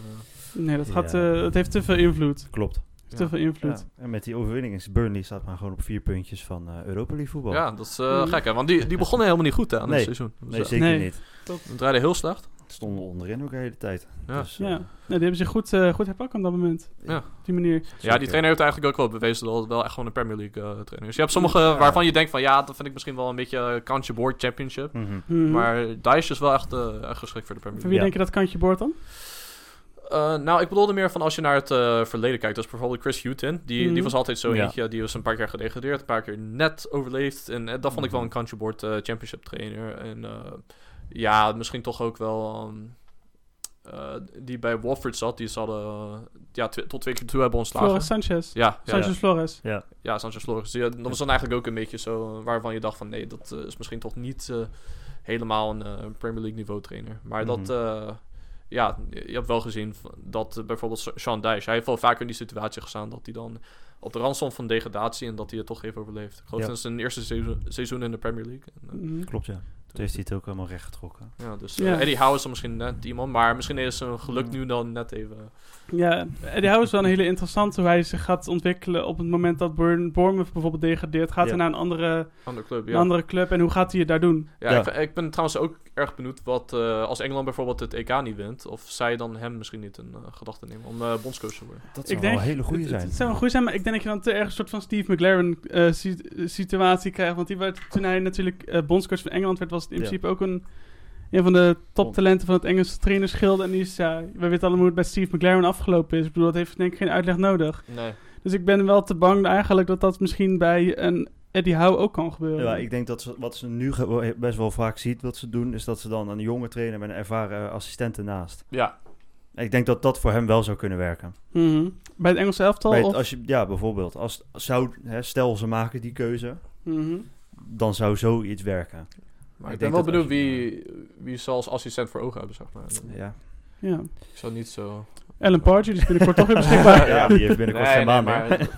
Speaker 2: Nee, dat, gaat,
Speaker 3: Ja.
Speaker 2: eh, dat heeft te veel invloed.
Speaker 3: klopt.
Speaker 2: Heeft
Speaker 4: Ja.
Speaker 2: te veel invloed.
Speaker 3: Ja. En met die overwinning is Burnley staat maar gewoon op vier puntjes van eh, Europa League voetbal.
Speaker 4: ja, dat is eh, gek hè. Want die, die begonnen helemaal niet goed hè, aan
Speaker 3: Nee.
Speaker 4: het seizoen. Dus,
Speaker 3: Nee,
Speaker 4: eh,
Speaker 3: zeker
Speaker 2: Nee.
Speaker 3: niet.
Speaker 4: het draaide heel slecht.
Speaker 3: Stonden onderin ook de hele tijd.
Speaker 4: Ja.
Speaker 3: Dus, eh,
Speaker 2: Ja, nee, die hebben zich goed, eh goed herpakt op dat moment.
Speaker 4: Ja.
Speaker 2: Op die manier.
Speaker 4: Ja, die
Speaker 3: zeker.
Speaker 4: trainer heeft eigenlijk ook wel bewezen dat het wel echt gewoon een Premier League eh, trainer is. Je hebt sommige
Speaker 3: Ja.
Speaker 4: waarvan je denkt van ja, dat vind ik misschien wel een beetje eh, kantje boord championship.
Speaker 3: Mhm.
Speaker 2: Mhm.
Speaker 4: Maar Dice is wel echt, eh, echt geschikt voor de Premier
Speaker 2: Van
Speaker 4: League.
Speaker 2: wie
Speaker 3: Ja.
Speaker 2: denk je dat kantje boord dan?
Speaker 4: Eh, nou, ik bedoelde meer van als je naar het eh, verleden kijkt. Dus bijvoorbeeld Chris Hughton. Die,
Speaker 2: Mhm.
Speaker 4: die was altijd zo
Speaker 3: Ja.
Speaker 4: eentje. Die was een paar keer gedegradeerd, een paar keer net overleefd. En eh, dat vond ik
Speaker 2: Mhm.
Speaker 4: wel een kantje boord eh, championship trainer. En eh, ja, misschien toch ook wel... ehm, eh, die bij Watford zat, die ze hadden eh, ja, tw- tot twee keer toe hebben ontslagen.
Speaker 2: Flores Sanchez.
Speaker 4: Ja, ja,
Speaker 2: Sanchez Flores.
Speaker 3: Ja.
Speaker 4: Ja, Sanchez Flores. Dus Ja, dat was dan eigenlijk ook een beetje zo eh, waarvan je dacht van nee, dat eh, is misschien toch niet eh, helemaal een eh, Premier League niveau trainer. Maar dat,
Speaker 3: Mhm.
Speaker 4: eh, ja, je hebt wel gezien van- dat eh, bijvoorbeeld Sean Dyche, hij heeft wel vaker in die situatie gestaan dat hij dan op de rand stond van degradatie en dat hij het toch heeft overleefd. Ik geloof
Speaker 3: Ja.
Speaker 4: dat is zijn eerste seizoen, seizoen in de Premier League. En, eh,
Speaker 2: Mhm.
Speaker 3: Klopt, ja. Toen heeft hij het ook helemaal recht getrokken.
Speaker 4: ja, dus eh,
Speaker 2: Ja.
Speaker 4: Eddie Howe is dan misschien net iemand, maar misschien is zijn geluk nu dan net even...
Speaker 2: Ja, Eddie Howe is wel een hele interessante hoe hij zich gaat ontwikkelen op het moment dat Burn, Bournemouth bijvoorbeeld degradeert. Gaat
Speaker 3: Ja.
Speaker 2: hij naar een andere,
Speaker 4: Andere club,
Speaker 2: een
Speaker 4: ja.
Speaker 2: andere club en hoe gaat hij het daar doen?
Speaker 4: Ja,
Speaker 3: Ja.
Speaker 4: Ik, ik ben trouwens ook erg benieuwd wat eh, als Engeland bijvoorbeeld het EK niet wint, of zij dan hem misschien niet in eh, gedachten nemen om eh bondscoach te worden.
Speaker 3: Dat zou
Speaker 2: denk-
Speaker 3: wel een hele goede
Speaker 2: Het-
Speaker 3: zijn.
Speaker 2: Het, het zou een goede zijn, maar ik denk dat je dan te erg een soort van Steve McLaren eh, si- situatie krijgt. Want die werd, toen hij natuurlijk eh bondscoach van Engeland werd, was het in
Speaker 3: Ja.
Speaker 2: principe ook een, een van de toptalenten van het Engelse trainerschild. En die is, ja, we weten allemaal hoe het bij Steve McLaren afgelopen is. Ik bedoel, dat heeft denk ik geen uitleg nodig.
Speaker 4: Nee.
Speaker 2: Dus ik ben wel te bang eigenlijk dat dat misschien bij een Eddie Howe ook kan gebeuren.
Speaker 3: Ja, ik denk dat ze, wat ze nu ge- best wel vaak ziet wat ze doen, is dat ze dan een jonge trainer met een ervaren eh, assistent ernaast.
Speaker 4: Ja,
Speaker 3: En Ik denk dat dat voor hem wel zou kunnen werken.
Speaker 2: Mhm. Bij het Engelse elftal?
Speaker 3: Bij het-
Speaker 2: of?
Speaker 3: als je, ja, bijvoorbeeld. Als, zou, hè, stel ze maken die keuze,
Speaker 2: Mhm.
Speaker 3: dan zou zoiets werken.
Speaker 4: maar
Speaker 3: Ik
Speaker 4: ik, ben
Speaker 3: denk
Speaker 4: wel
Speaker 3: dat
Speaker 4: benieuwd
Speaker 3: als je-
Speaker 4: wie, wie ze als assistent voor ogen hebben, zeg maar.
Speaker 3: Ja,
Speaker 2: Ja.
Speaker 4: Ik zou niet zo...
Speaker 2: Alan Pardew, die is binnenkort
Speaker 3: (laughs)
Speaker 2: toch weer beschikbaar.
Speaker 3: ja die heeft binnenkort zijn baan meer.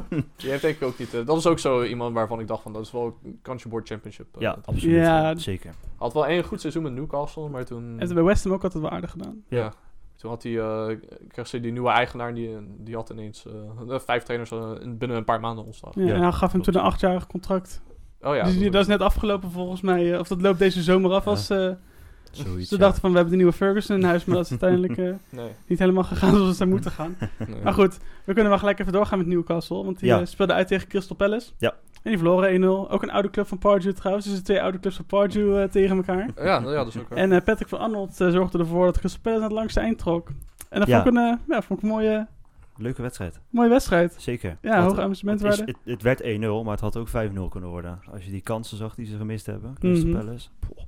Speaker 3: (laughs)
Speaker 4: (laughs) die heeft denk ik ook niet... eh, dat is ook zo iemand waarvan ik dacht van, dat is wel een kansje board championship. eh.
Speaker 3: Ja, absoluut.
Speaker 2: Ja.
Speaker 3: Zeker.
Speaker 4: Had wel één goed seizoen met Newcastle, maar toen...
Speaker 2: Heeft het bij West Ham ook altijd wel aardig gedaan.
Speaker 4: Ja. Toen had hij, eh, kreeg ze die nieuwe eigenaar, die, die had ineens eh, vijf trainers eh, in- binnen een paar maanden ontslagen.
Speaker 2: Ja,
Speaker 3: Ja,
Speaker 2: en hij gaf hem
Speaker 3: klopt.
Speaker 2: toen een achtjarig contract.
Speaker 4: Oh ja.
Speaker 2: dus die,
Speaker 4: dat-
Speaker 2: dat is net afgelopen volgens mij. eh, of dat loopt deze zomer af.
Speaker 3: Ja.
Speaker 2: Als, eh,
Speaker 3: Zoiets,
Speaker 2: ze
Speaker 3: ja.
Speaker 2: dachten van we hebben de nieuwe Ferguson in huis. Maar dat is uiteindelijk eh,
Speaker 4: Nee.
Speaker 2: niet helemaal gegaan zoals het zou moeten gaan.
Speaker 4: nee.
Speaker 2: Maar goed, we kunnen wel gelijk even doorgaan met Newcastle. Want die
Speaker 3: Ja.
Speaker 2: eh, speelde uit tegen Crystal Palace.
Speaker 3: Ja.
Speaker 2: En die verloren 1-0. Ook een oude club van Pardew trouwens. Dus de twee oude clubs van Pardew eh, tegen elkaar.
Speaker 4: Ja, nou ja, dat is ook waar.
Speaker 2: En eh, Patrick van Arnold eh, zorgde ervoor dat Crystal Palace aan het langste eind trok. En dat
Speaker 3: Ja.
Speaker 2: vond ik een, eh, ja, vond ik een mooie,
Speaker 3: Leuke wedstrijd.
Speaker 2: mooie wedstrijd.
Speaker 3: Zeker.
Speaker 2: Ja,
Speaker 3: Wat-
Speaker 2: hoge
Speaker 3: het, eh, is-
Speaker 2: amusementwaarde.
Speaker 3: het, het werd 1-0, maar het had ook 5-0 kunnen worden. Als je die kansen zag die ze gemist hebben. Crystal
Speaker 2: Mhm.
Speaker 3: Palace. Poh.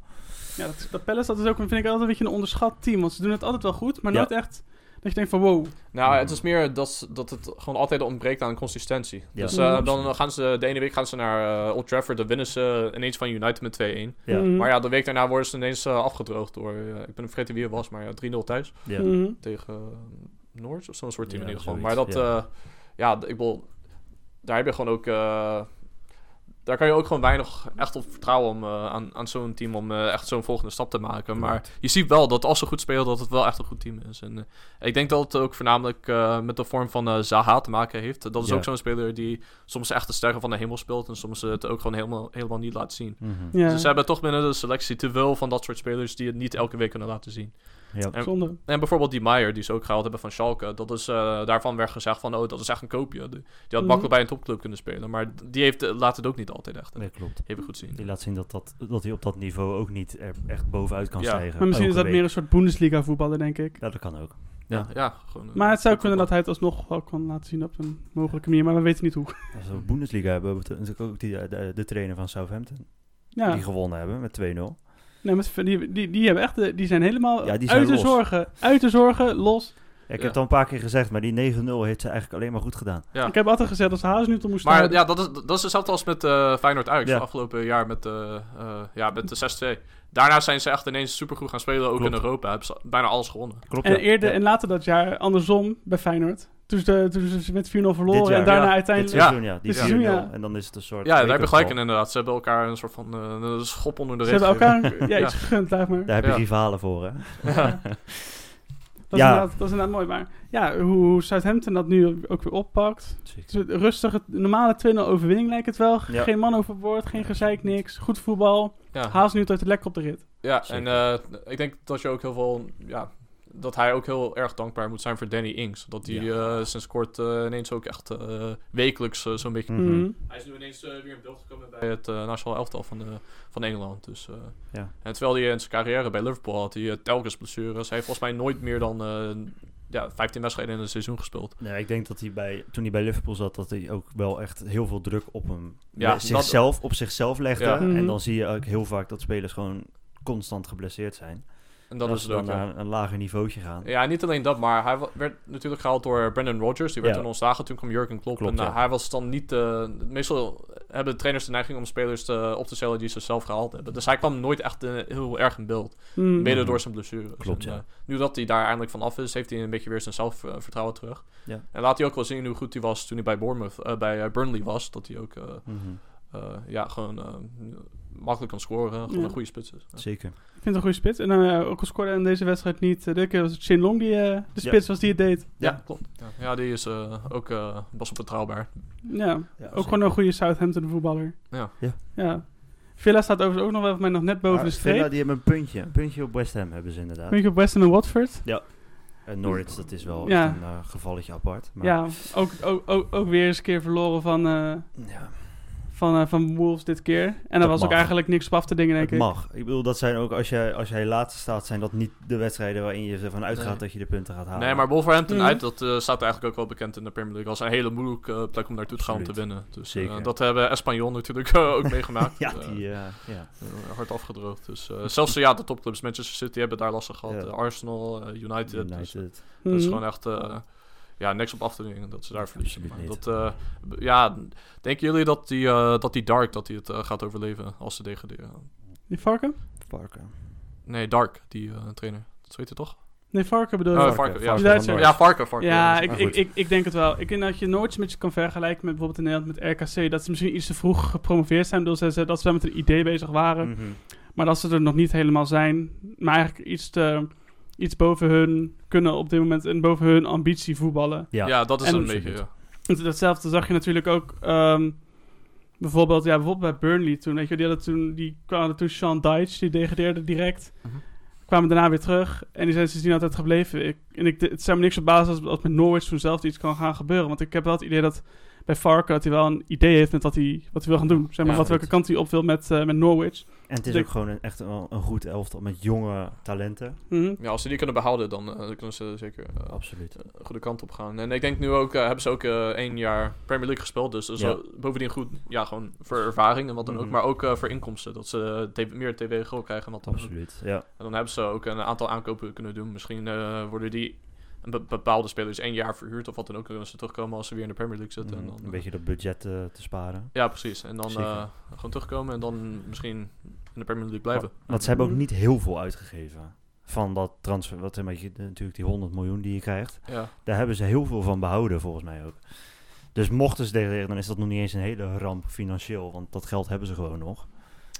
Speaker 2: Ja, dat, dat Palace dat is ook, vind ik altijd een beetje een onderschat team. Want ze doen het altijd wel goed, maar
Speaker 3: Ja.
Speaker 2: nooit echt dat je denkt van wow.
Speaker 4: Nou, het is meer dat, ze- dat het gewoon altijd ontbreekt aan consistentie.
Speaker 3: Ja.
Speaker 4: Dus
Speaker 2: Ja,
Speaker 4: eh, dan
Speaker 3: absoluut.
Speaker 4: gaan ze, de ene week gaan ze naar eh, Old Trafford, dan winnen ze ineens van United met 2-1.
Speaker 3: Ja.
Speaker 2: Mhm.
Speaker 4: Maar ja, de week daarna worden ze ineens eh, afgedroogd door, eh, ik ben vergeten wie het was, maar ja, 3-0 thuis
Speaker 3: Ja.
Speaker 2: Mhm.
Speaker 4: tegen eh, Norwich of zo'n soort team
Speaker 3: Ja,
Speaker 4: in ieder geval.
Speaker 3: zoiets,
Speaker 4: maar dat,
Speaker 3: ja.
Speaker 4: ja, ja d- ik bedoel, daar heb je gewoon ook, eh, daar kan je ook gewoon weinig echt op vertrouwen om, eh, aan, aan zo'n team om eh, echt zo'n volgende stap te maken. Maar je ziet wel dat als ze goed spelen, dat het wel echt een goed team is. En eh, ik denk dat het ook voornamelijk eh, met de vorm van eh, Zaha te maken heeft. Dat is
Speaker 3: Ja.
Speaker 4: ook zo'n speler die soms echt de sterren van de hemel speelt en soms eh, het ook gewoon helemaal, helemaal niet laat zien.
Speaker 3: Mhm.
Speaker 2: Ja,
Speaker 4: Dus ze hebben toch binnen de selectie te veel van dat soort spelers die het niet elke week kunnen laten zien.
Speaker 3: Ja.
Speaker 4: En-
Speaker 2: zonde.
Speaker 4: En bijvoorbeeld die Maier, die ze ook gehaald hebben van Schalke. Dat is, eh, daarvan werd gezegd van, oh, dat is echt een koopje. Die, die had
Speaker 2: Mhm.
Speaker 4: makkelijk bij een topclub kunnen spelen. Maar die heeft, eh, laat het ook niet altijd echt
Speaker 3: Nee, klopt.
Speaker 4: even goed zien.
Speaker 3: Die laat zien dat, dat, dat hij op dat niveau ook niet er echt bovenuit kan
Speaker 4: Ja.
Speaker 3: stijgen.
Speaker 2: Maar misschien is
Speaker 3: Elke
Speaker 2: dat meer
Speaker 3: week.
Speaker 2: een soort Bundesliga voetballer, denk ik.
Speaker 3: Ja, dat kan ook.
Speaker 4: Ja, ja, gewoon, eh,
Speaker 2: Maar het zou
Speaker 4: goed
Speaker 2: kunnen dat
Speaker 4: voetbal.
Speaker 2: hij het alsnog wel kan laten zien op een mogelijke manier, maar we weten niet hoe.
Speaker 3: Als we de Bundesliga hebben, hebben we natuurlijk ook die, eh, de, de trainer van Southampton.
Speaker 2: Ja,
Speaker 3: Die gewonnen hebben met 2-0.
Speaker 2: nee, maar die, die, die, hebben echt de, die zijn helemaal
Speaker 3: Ja, die zijn
Speaker 2: uit de
Speaker 3: los.
Speaker 2: zorgen. Uit de zorgen, los.
Speaker 3: ik
Speaker 4: Ja.
Speaker 3: heb het al een paar keer gezegd, maar die 9-0 heeft ze eigenlijk alleen maar goed gedaan.
Speaker 4: Ja.
Speaker 2: Ik heb altijd gezegd dat ze Haas nu toe moesten
Speaker 4: Maar
Speaker 2: houden.
Speaker 4: ja, dat is, dat is hetzelfde als met eh Feyenoord Ajax
Speaker 3: Ja.
Speaker 4: van afgelopen jaar met, eh, eh, ja, met de 6-2. Daarna zijn ze echt ineens supergoed gaan spelen, ook
Speaker 3: Klopt.
Speaker 4: in Europa. Hebben ze bijna alles gewonnen.
Speaker 3: Klopt,
Speaker 2: En
Speaker 3: ja.
Speaker 2: eerder
Speaker 3: Ja.
Speaker 2: en later dat jaar andersom bij Feyenoord. Toen ze, toen ze met 4-0 verloren
Speaker 3: Dit jaar,
Speaker 2: en daarna
Speaker 4: ja.
Speaker 3: Dit
Speaker 2: uiteindelijk...
Speaker 4: Ja.
Speaker 3: seizoen, ja. Die
Speaker 2: Dit seizoen,
Speaker 3: 4-0.
Speaker 2: ja.
Speaker 3: En dan is het een soort...
Speaker 4: Ja, daar heb je
Speaker 3: wake-up
Speaker 4: gelijk in
Speaker 3: call.
Speaker 4: inderdaad. Ze hebben elkaar een soort van eh, een schop onder de
Speaker 2: Ze
Speaker 4: reet.
Speaker 2: hebben
Speaker 4: gegeven.
Speaker 2: elkaar een- ja,
Speaker 4: Ja.
Speaker 2: iets gegund, zeg maar.
Speaker 3: Daar heb je
Speaker 4: Ja.
Speaker 3: rivalen voor, hè? (laughs)
Speaker 2: Dat,
Speaker 3: Ja.
Speaker 2: is inderdaad, dat is inderdaad mooi. Maar ja, hoe hoe Southampton dat nu ook weer oppakt. Het is een Rustige, normale 2-0 overwinning lijkt het wel.
Speaker 3: Ja.
Speaker 2: Geen man overboord, geen gezeik, niks. Goed voetbal.
Speaker 4: Ja.
Speaker 2: Haas nu het lekker op de rit.
Speaker 4: Ja, en
Speaker 3: Zeker.
Speaker 4: eh, ik denk dat je ook heel veel. Ja, dat hij ook heel erg dankbaar moet zijn voor Danny Ings. Dat hij eh, sinds kort eh, ineens ook echt eh, wekelijks eh, zo'n beetje.
Speaker 3: Mhm.
Speaker 2: Mhm.
Speaker 4: Hij is nu ineens eh, weer in beeld gekomen bij het nationaal elftal van, eh, van Engeland. Dus,
Speaker 3: Ja.
Speaker 4: En terwijl hij in zijn carrière bij Liverpool had, hij eh, telkens blessures. Hij heeft volgens mij nooit meer dan eh, ja, 15 wedstrijden in een seizoen gespeeld.
Speaker 3: Nee, ik denk dat hij bij, toen hij bij Liverpool zat, dat hij ook wel echt heel veel druk op hem
Speaker 4: Ja,
Speaker 3: ja, zichzelf, op zichzelf legde.
Speaker 4: Ja.
Speaker 2: Mhm.
Speaker 3: En dan zie je ook heel vaak dat spelers gewoon constant geblesseerd zijn.
Speaker 4: En dat
Speaker 3: en als
Speaker 4: is
Speaker 3: ze
Speaker 4: het
Speaker 3: dan eh,
Speaker 4: ook. ja.
Speaker 3: naar een lager niveautje gaan.
Speaker 4: Ja, niet alleen dat, maar hij wa- werd natuurlijk gehaald door Brandon Rodgers. Die werd
Speaker 3: Ja.
Speaker 4: toen ontslagen. Toen kwam Jurgen Klopp.
Speaker 3: Klopt,
Speaker 4: en eh,
Speaker 3: ja.
Speaker 4: hij was dan niet... eh, meestal hebben de trainers de neiging om spelers te- op te stellen die ze zelf gehaald hebben. Dus hij kwam nooit echt eh, heel erg in beeld.
Speaker 2: Mhm.
Speaker 4: Mede door zijn blessures.
Speaker 3: Mm. Klopt,
Speaker 4: En,
Speaker 3: ja.
Speaker 4: eh, nu dat hij daar eindelijk van af is, heeft hij een beetje weer zijn zelfvertrouwen terug.
Speaker 3: Ja.
Speaker 4: En laat hij ook wel zien hoe goed hij was toen hij bij Bournemouth, eh, bij eh, Burnley was. Dat hij ook eh,
Speaker 3: Mhm.
Speaker 4: eh, ja, gewoon eh, makkelijk kan scoren. Gewoon
Speaker 2: Ja.
Speaker 4: een goede spits is. Ja.
Speaker 3: Zeker.
Speaker 2: Ik vind het een goede spits. En eh, ook al scoorde hij in deze wedstrijd niet. eh, dit keer was het Shin Long die eh,
Speaker 3: Ja.
Speaker 2: de spits was die het deed.
Speaker 4: Ja,
Speaker 3: Ja.
Speaker 4: klopt. Ja, ja die is eh, ook eh best wel betrouwbaar.
Speaker 2: Ja,
Speaker 3: Ja,
Speaker 2: ook gewoon een goede Southampton voetballer.
Speaker 4: Ja.
Speaker 3: Ja.
Speaker 2: ja. Villa staat overigens ook nog wel voor mij nog net boven
Speaker 3: Maar
Speaker 2: de
Speaker 3: Villa,
Speaker 2: streep.
Speaker 3: die hebben een puntje. Een puntje op West Ham hebben ze inderdaad.
Speaker 2: Vind ik op West Ham en Watford.
Speaker 3: En Norwich, dat is wel
Speaker 2: Ja.
Speaker 3: echt een eh, gevalletje apart. Maar,
Speaker 2: Ja, ook, ook, ook, ook weer eens een keer verloren van, eh,
Speaker 3: ja,
Speaker 2: van, eh, van Wolves dit keer. En daar
Speaker 3: Dat
Speaker 2: was ook
Speaker 3: mag.
Speaker 2: eigenlijk niks op af te dingen, denk
Speaker 3: het
Speaker 2: ik.
Speaker 3: mag. Ik bedoel, dat zijn ook, als jij, als jij laatste staat, zijn dat niet de wedstrijden waarin je ervan uitgaat
Speaker 4: Nee.
Speaker 3: dat je de punten gaat halen.
Speaker 4: Nee, maar Wolverhampton
Speaker 2: Mhm.
Speaker 4: uit, dat eh, staat eigenlijk ook wel bekend in de Premier League. Als een hele moeilijke eh, plek om naartoe te gaan om te
Speaker 3: Absoluut.
Speaker 4: winnen. Dus eh,
Speaker 3: Zeker.
Speaker 4: dat hebben Espanyol natuurlijk eh,
Speaker 3: (laughs)
Speaker 4: ook meegemaakt.
Speaker 3: Ja,
Speaker 4: Eh,
Speaker 3: die, eh, ja.
Speaker 4: eh, hard afgedroogd. Dus, eh, zelfs eh, ja, de topclubs, Manchester City, hebben daar lastig gehad.
Speaker 3: Ja.
Speaker 4: Eh, Arsenal, eh, United. dus, eh,
Speaker 3: United.
Speaker 4: dat is
Speaker 2: Mhm.
Speaker 4: gewoon echt eh, ja, niks op af te dingen dat ze daar verliezen.
Speaker 3: Absoluut
Speaker 4: Maar
Speaker 3: niet.
Speaker 4: Dat, eh, b- ja, denken jullie dat die, eh, dat die Dark dat die het eh, gaat overleven als ze degraderen?
Speaker 2: Die Varken?
Speaker 3: Parker.
Speaker 4: Nee, Dark, die eh, trainer. Dat weet je toch?
Speaker 2: Nee, Varken bedoel
Speaker 4: Eh,
Speaker 2: je?
Speaker 4: Varken, ja.
Speaker 3: van
Speaker 2: Duitser.
Speaker 3: Norwich.
Speaker 4: Ja, Varken. Varken
Speaker 2: Ja,
Speaker 4: dat is-
Speaker 2: ik,
Speaker 3: maar
Speaker 2: ik,
Speaker 3: goed.
Speaker 2: ik, ik denk het wel. Ik denk dat je nooit met je kan vergelijken met bijvoorbeeld in Nederland met RKC. Dat ze misschien iets te vroeg gepromoveerd zijn. Dus dat ze wel met een idee bezig waren.
Speaker 3: Mhm.
Speaker 2: Maar dat ze er nog niet helemaal zijn. Maar eigenlijk iets, te, iets boven hun kunnen op dit moment. En boven hun ambitie voetballen.
Speaker 4: ja.
Speaker 3: Ja.
Speaker 4: dat is
Speaker 2: En-
Speaker 4: een beetje. Ja.
Speaker 2: Want Datzelfde zag je natuurlijk ook. ehm, bijvoorbeeld, ja, bijvoorbeeld bij Burnley toen. Weet je, die, hadden toen, die kwamen toen Sean Dyche, die degradeerde direct.
Speaker 4: Mhm.
Speaker 2: Kwamen daarna weer terug. En die zijn sindsdien altijd gebleven. Ik, en ik, het zou me niks verbazen als, als met Norwich toen zelf iets kan gaan gebeuren. Want ik heb wel het idee dat bij Varken dat hij wel een idee heeft met wat hij, wat hij wil gaan doen. Zeg maar,
Speaker 4: Ja,
Speaker 2: wat,
Speaker 4: goed.
Speaker 2: welke kant hij op wil met, eh, met Norwich.
Speaker 3: En het is
Speaker 2: De-
Speaker 3: ook gewoon een, echt wel een goed elftal met jonge talenten.
Speaker 2: Mhm.
Speaker 4: ja, als ze die kunnen behouden, dan eh, kunnen ze zeker eh,
Speaker 3: Absoluut.
Speaker 4: een goede kant op gaan. En ik denk nu ook, eh, hebben ze ook eh, één jaar Premier League gespeeld. Dus dat is
Speaker 3: Ja.
Speaker 4: wel bovendien goed, ja, gewoon voor ervaring en wat dan ook.
Speaker 3: Mhm.
Speaker 4: Maar ook eh, voor inkomsten, dat ze eh, t- meer tv geld krijgen en wat dan ook.
Speaker 3: Absoluut. Ja.
Speaker 4: En dan hebben ze ook een aantal aankopen kunnen doen. Misschien eh, worden die een be- bepaalde spelers één jaar verhuurd of wat dan ook. Kunnen ze terugkomen als ze weer in de Premier League zitten.
Speaker 3: Mhm.
Speaker 4: en dan,
Speaker 3: Een beetje dat budget eh, te sparen.
Speaker 4: Ja, precies. En dan
Speaker 3: Zeker.
Speaker 4: eh, gewoon terugkomen en dan misschien in de Premier League blijven.
Speaker 3: Want ze hebben ook
Speaker 2: Mhm.
Speaker 3: niet heel veel uitgegeven van dat transfer. Wat een beetje, natuurlijk die 100 miljoen die je krijgt.
Speaker 4: Ja.
Speaker 3: Daar hebben ze heel veel van behouden volgens mij ook. Dus mochten ze degraderen, dan is dat nog niet eens een hele ramp financieel. Want dat geld hebben ze gewoon nog.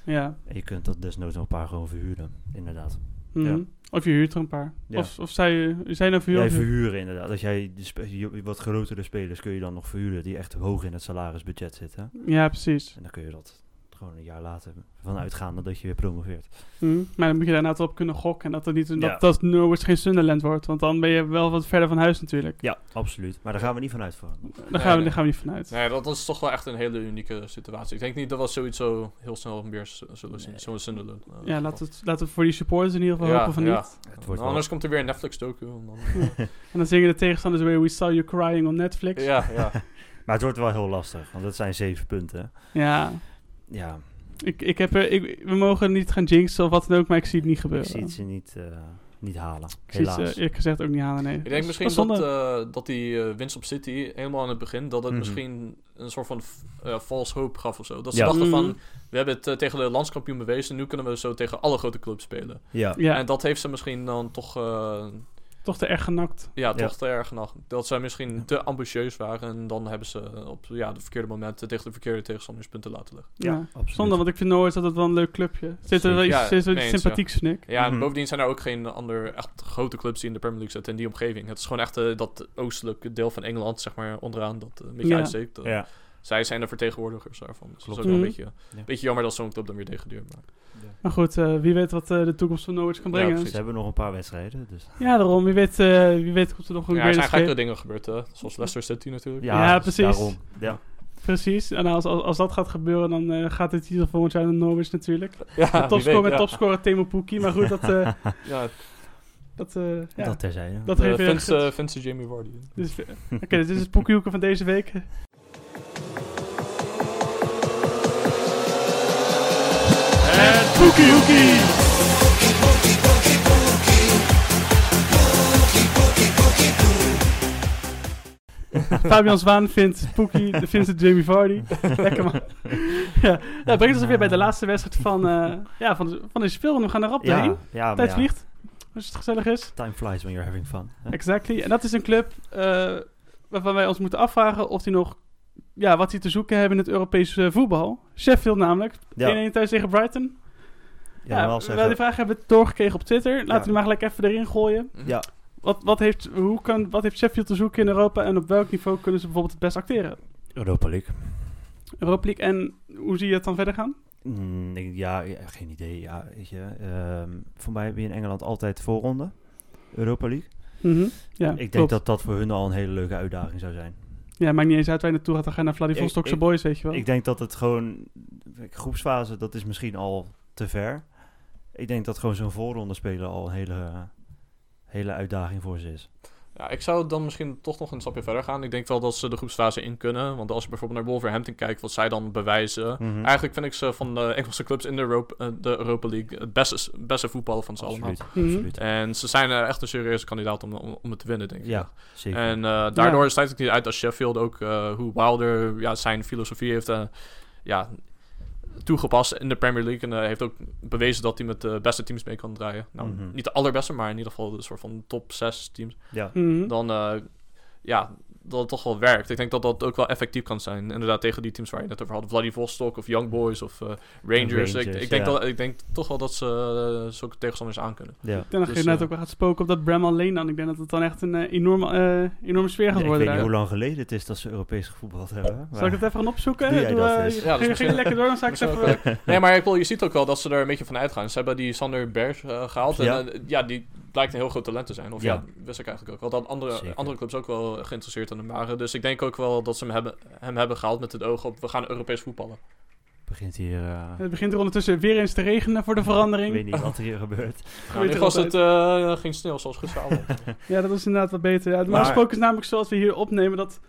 Speaker 2: Ja.
Speaker 3: En je kunt dat desnoods nog een paar gewoon verhuren. Inderdaad.
Speaker 2: Mhm.
Speaker 3: Ja.
Speaker 2: Of je huurt er een paar.
Speaker 3: Ja.
Speaker 2: Of, of zij, zij
Speaker 3: Jij
Speaker 2: nou verhuurd.
Speaker 3: verhuren inderdaad. Dat jij de spe- je- wat grotere spelers kun je dan nog verhuren. Die echt hoog in het salarisbudget zitten.
Speaker 2: Ja, precies.
Speaker 3: En dan kun je dat gewoon een jaar later van uitgaan dat je weer promoveert.
Speaker 2: Mhm. Maar dan moet je daar inderdaad op kunnen gokken. En dat, het niet, dat,
Speaker 3: Ja.
Speaker 2: dat Norwich geen Sunderland wordt. Want dan ben je wel wat verder van huis natuurlijk.
Speaker 3: Ja, absoluut. Maar daar gaan we niet vanuit voor.
Speaker 2: Daar,
Speaker 4: Nee,
Speaker 2: gaan, we,
Speaker 4: nee.
Speaker 2: daar gaan we niet vanuit.
Speaker 4: Nee, dat is toch wel echt een hele unieke situatie. Ik denk niet dat we zoiets zo heel snel meer z- zullen zien.
Speaker 3: Nee.
Speaker 4: Zo'n Sunderland. eh,
Speaker 2: Ja,
Speaker 4: geval.
Speaker 2: laten we, laten we voor die supporters in ieder geval hopen van niet.
Speaker 3: Het wordt
Speaker 4: anders komt er weer een Netflix-docu. en dan-
Speaker 2: En dan zingen de tegenstanders weer We Saw You Crying on Netflix. Ja.
Speaker 4: ja,
Speaker 2: (laughs)
Speaker 4: ja.
Speaker 3: Maar het wordt wel heel lastig, want dat zijn zeven punten. Ja,
Speaker 2: Ik, ik heb er, ik, we mogen niet gaan jinxen of wat dan ook, maar ik zie het niet
Speaker 3: ik
Speaker 2: gebeuren.
Speaker 3: zie het ze niet, eh, niet halen.
Speaker 2: Ik zie het
Speaker 3: Helaas.
Speaker 2: eh, eerlijk gezegd ook niet halen, nee.
Speaker 4: Ik denk misschien dat,
Speaker 2: zonde.
Speaker 4: eh, dat die eh, winst op City helemaal aan het begin, dat het
Speaker 3: Mhm.
Speaker 4: misschien een soort van f- eh false hope gaf of zo. Dat ze
Speaker 3: Ja.
Speaker 4: dachten van,
Speaker 2: Mhm.
Speaker 4: we hebben het eh, tegen de landskampioen bewezen, nu kunnen we zo tegen alle grote clubs spelen.
Speaker 3: ja.
Speaker 2: Ja,
Speaker 4: eh, En dat heeft ze misschien dan toch, eh,
Speaker 2: toch te erg genakt.
Speaker 4: ja, toch
Speaker 3: Ja.
Speaker 4: te erg genacht. Dat zij misschien te ambitieus waren en dan hebben ze op ja, de verkeerde momenten tegen de verkeerde tegenstanders punten laten liggen.
Speaker 2: Ja.
Speaker 3: absoluut.
Speaker 2: Zonde, want ik vind Norwich altijd wel een leuk clubje. Zit er wel iets,
Speaker 4: Ja,
Speaker 2: zit er wel
Speaker 4: nee
Speaker 2: iets
Speaker 4: eens,
Speaker 2: sympathieks, vind ik.
Speaker 4: Ja, en
Speaker 3: Mhm.
Speaker 4: bovendien zijn er ook geen andere echt grote clubs die in de Premier League zitten in die omgeving. Het is gewoon echt eh, dat oostelijke deel van Engeland, zeg maar, onderaan, dat eh, een beetje
Speaker 2: Ja.
Speaker 4: uitsteekt. Eh,
Speaker 3: Ja.
Speaker 4: Zij zijn de vertegenwoordigers daarvan. Dus dat
Speaker 3: Klopt.
Speaker 4: is ook wel een
Speaker 2: Mhm.
Speaker 4: beetje,
Speaker 3: Ja.
Speaker 4: beetje jammer dat zo'n club dan weer degradeert. Maar
Speaker 2: Maar goed, eh, wie weet wat eh, de toekomst van Norwich kan
Speaker 4: Ja,
Speaker 2: brengen.
Speaker 4: precies.
Speaker 3: Ze hebben nog een paar wedstrijden, dus...
Speaker 2: Ja, daarom. Wie weet, eh, wie weet komt er nog een
Speaker 4: ja,
Speaker 2: ja,
Speaker 4: er zijn gekkere dingen gebeurd, eh, zoals Leicester City natuurlijk.
Speaker 3: Ja,
Speaker 2: Ja,
Speaker 3: dus
Speaker 2: precies.
Speaker 3: Daarom. Ja.
Speaker 2: Precies. En als, als, als dat gaat gebeuren, dan eh, gaat de titel volgend jaar naar Norwich natuurlijk.
Speaker 3: (laughs)
Speaker 4: ja
Speaker 2: topscorer met
Speaker 4: Ah, ja.
Speaker 2: topscorer Temo Pukki. Maar goed, dat... eh
Speaker 4: Ja,
Speaker 2: dat, eh, ja,
Speaker 3: Dat terzijde.
Speaker 2: dat
Speaker 4: de
Speaker 2: geeft weer...
Speaker 4: Finse- Finse Jamie Vardy. Mhm.
Speaker 2: Dus, eh, Oké, dit is het Poekiehoeken van deze week. Het Poekiehoekie! Fabian Zwaan vindt Poekie, de Vincent Jamie
Speaker 3: (laughs)
Speaker 2: Vardy. Lekker man. ja, dat brengt ons weer bij de laatste wedstrijd van, eh, ja, van, van deze film. We gaan er rap doorheen.
Speaker 3: ja, ja, maar
Speaker 2: Tijd
Speaker 3: ja.
Speaker 2: vliegt, als het gezellig is.
Speaker 3: Time flies when you're having fun. hè?
Speaker 2: Exactly. En dat is een club eh, waarvan wij ons moeten afvragen of die nog ja, wat die te zoeken hebben in het Europese eh, voetbal. Sheffield namelijk. 1-1
Speaker 3: Ja.
Speaker 2: thuis tegen Brighton.
Speaker 3: Ja,
Speaker 2: Ja,
Speaker 3: wel
Speaker 2: wij
Speaker 3: zeggen.
Speaker 2: die vraag hebben doorgekregen op Twitter. Laten
Speaker 3: Ja.
Speaker 2: we die maar gelijk even erin gooien.
Speaker 3: Ja.
Speaker 2: Wat, wat, heeft, hoe kan, wat heeft Sheffield te zoeken in Europa en op welk niveau kunnen ze bijvoorbeeld het best acteren?
Speaker 3: Europa League.
Speaker 2: Europa League en hoe zie je het dan verder gaan?
Speaker 3: Mm, ik- ja, ja, geen idee. Ja, weet je, ehm, voor mij heb je in Engeland altijd voorronde. Europa League.
Speaker 2: Ja,
Speaker 3: Mhm. ik denk
Speaker 2: klopt.
Speaker 3: dat dat voor hun al een hele leuke uitdaging zou zijn.
Speaker 2: Ja, maakt niet eens uit waar je naartoe gaat. Dan ga je naar
Speaker 3: Ik-
Speaker 2: Vladivostokse
Speaker 3: ik-
Speaker 2: boys, weet je wel.
Speaker 3: Ik denk dat het gewoon... Groepsfase, dat is misschien al te ver. Ik denk dat gewoon zo'n voorronde spelen al een hele, hele uitdaging voor ze is.
Speaker 4: Ja, ik zou dan misschien toch nog een stapje verder gaan. Ik denk wel dat ze de groepsfase in kunnen. Want als je bijvoorbeeld naar Wolverhampton kijkt, wat zij dan bewijzen.
Speaker 3: Mhm.
Speaker 4: Eigenlijk vind ik ze van de Engelse clubs in de Europa, eh, de Europa League het beste, beste voetballen van ze allemaal.
Speaker 3: Absoluut.
Speaker 2: Mhm.
Speaker 3: absoluut.
Speaker 4: En ze zijn eh, echt een serieuze kandidaat om, om, om het te winnen, denk ik.
Speaker 3: Ja, zeker.
Speaker 4: En eh, daardoor sluit het niet uit dat Sheffield ook eh, hoe Wilder ja, zijn filosofie heeft eh, ja, toegepast in de Premier League. En eh, heeft ook bewezen dat hij met de beste teams mee kan draaien. Nou,
Speaker 3: Mhm.
Speaker 4: niet de allerbeste, maar in ieder geval de soort van top 6 teams.
Speaker 3: ja.
Speaker 2: Mhm.
Speaker 4: Dan eh, ja, dat het toch wel werkt. Ik denk dat dat ook wel effectief kan zijn. Inderdaad, tegen die teams waar je het net over had. Vladivostok of Young Boys of eh, Rangers.
Speaker 3: Rangers,
Speaker 4: ik, ik,
Speaker 3: ja.
Speaker 4: denk dat, ik denk toch wel dat ze eh, zulke tegenstanders aan kunnen.
Speaker 3: ja.
Speaker 2: Ik denk dat
Speaker 4: Dus,
Speaker 2: je net
Speaker 4: eh,
Speaker 2: ook wel gaat spoken op dat Bram alleen dan. Ik denk dat het dan echt een eh, enorme, eh, enorme sfeer gaat
Speaker 3: Ja, ik
Speaker 2: worden
Speaker 3: weet niet
Speaker 2: daar.
Speaker 3: hoe lang geleden het is dat ze Europees gevoetbald hebben.
Speaker 2: Zal ik
Speaker 3: maar-
Speaker 2: het even gaan opzoeken?
Speaker 3: Doe jij dat
Speaker 2: eh,
Speaker 3: eens?
Speaker 2: je-
Speaker 4: Ja, dat
Speaker 2: (laughs)
Speaker 4: is
Speaker 2: ging- ging
Speaker 4: misschien-
Speaker 2: lekker door, dan sta
Speaker 4: (laughs)
Speaker 2: ik ze
Speaker 4: Misschien
Speaker 2: even...
Speaker 4: ook wel. nee, maar ik bedoel, je ziet ook wel dat ze er een beetje van uitgaan. Ze hebben die Sander Berg eh, gehaald.
Speaker 3: Ja.
Speaker 4: En eh, ja, die blijkt een heel groot talent te zijn. Of ja,
Speaker 3: Ja.
Speaker 4: wist ik eigenlijk ook wel. Dat andere,
Speaker 3: Zeker.
Speaker 4: andere clubs ook wel geïnteresseerd aan hem waren. Dus ik denk ook wel dat ze hem hebben, hem hebben gehaald met het oog op... we gaan Europees voetballen.
Speaker 3: begint hier... eh,
Speaker 2: Het begint er ondertussen weer eens te regenen voor de
Speaker 3: ik weet
Speaker 2: verandering.
Speaker 3: niet wat hier gebeurt.
Speaker 4: Nou, in ieder geval is het eh, geen sneeuw zoals gisteravond.
Speaker 2: Ja, dat is inderdaad wat beter. Ja, normaal
Speaker 3: Maar-
Speaker 2: gesproken is namelijk zoals we hier opnemen dat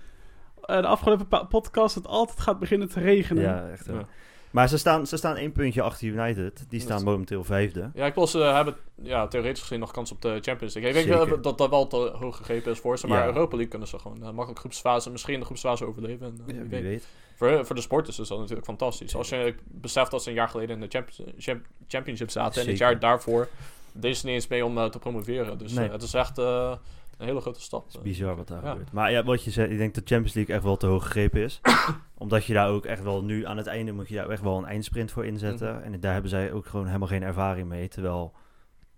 Speaker 2: eh, de afgelopen pa- podcast het altijd gaat beginnen te regenen.
Speaker 3: Ja, echt wel.
Speaker 4: Ja.
Speaker 3: Maar ze staan, ze staan één puntje achter United. Die
Speaker 4: Dat
Speaker 3: staan
Speaker 4: is-
Speaker 3: momenteel vijfde.
Speaker 4: ja, ik bedoel, ze eh, hebben ja, theoretisch gezien nog kans op de Champions League. Ik denk
Speaker 3: Zeker.
Speaker 4: wel dat dat wel te hoog gegrepen is voor ze. Maar
Speaker 3: Ja.
Speaker 4: Europa League kunnen ze gewoon eh, makkelijk groepsfase... misschien de groepsfase overleven. En, eh, wie weet.
Speaker 3: weet.
Speaker 4: Voor, voor de sporters is dat natuurlijk fantastisch. Als je beseft dat ze een jaar geleden in de champions, champ- Championship zaten en het
Speaker 3: Zeker.
Speaker 4: jaar daarvoor deden ze niet eens mee om eh, te promoveren. Dus eh,
Speaker 3: Nee.
Speaker 4: het is echt eh, een hele grote stap.
Speaker 3: Het is bizar wat daar
Speaker 4: Ja.
Speaker 3: gebeurt. Maar ja, wat je zei, ik denk dat Champions League echt wel te hoog gegrepen
Speaker 4: (coughs)
Speaker 3: is. Omdat je daar ook echt wel nu aan het einde moet je daar echt wel een eindsprint voor inzetten. En daar hebben zij ook gewoon helemaal geen ervaring mee. Terwijl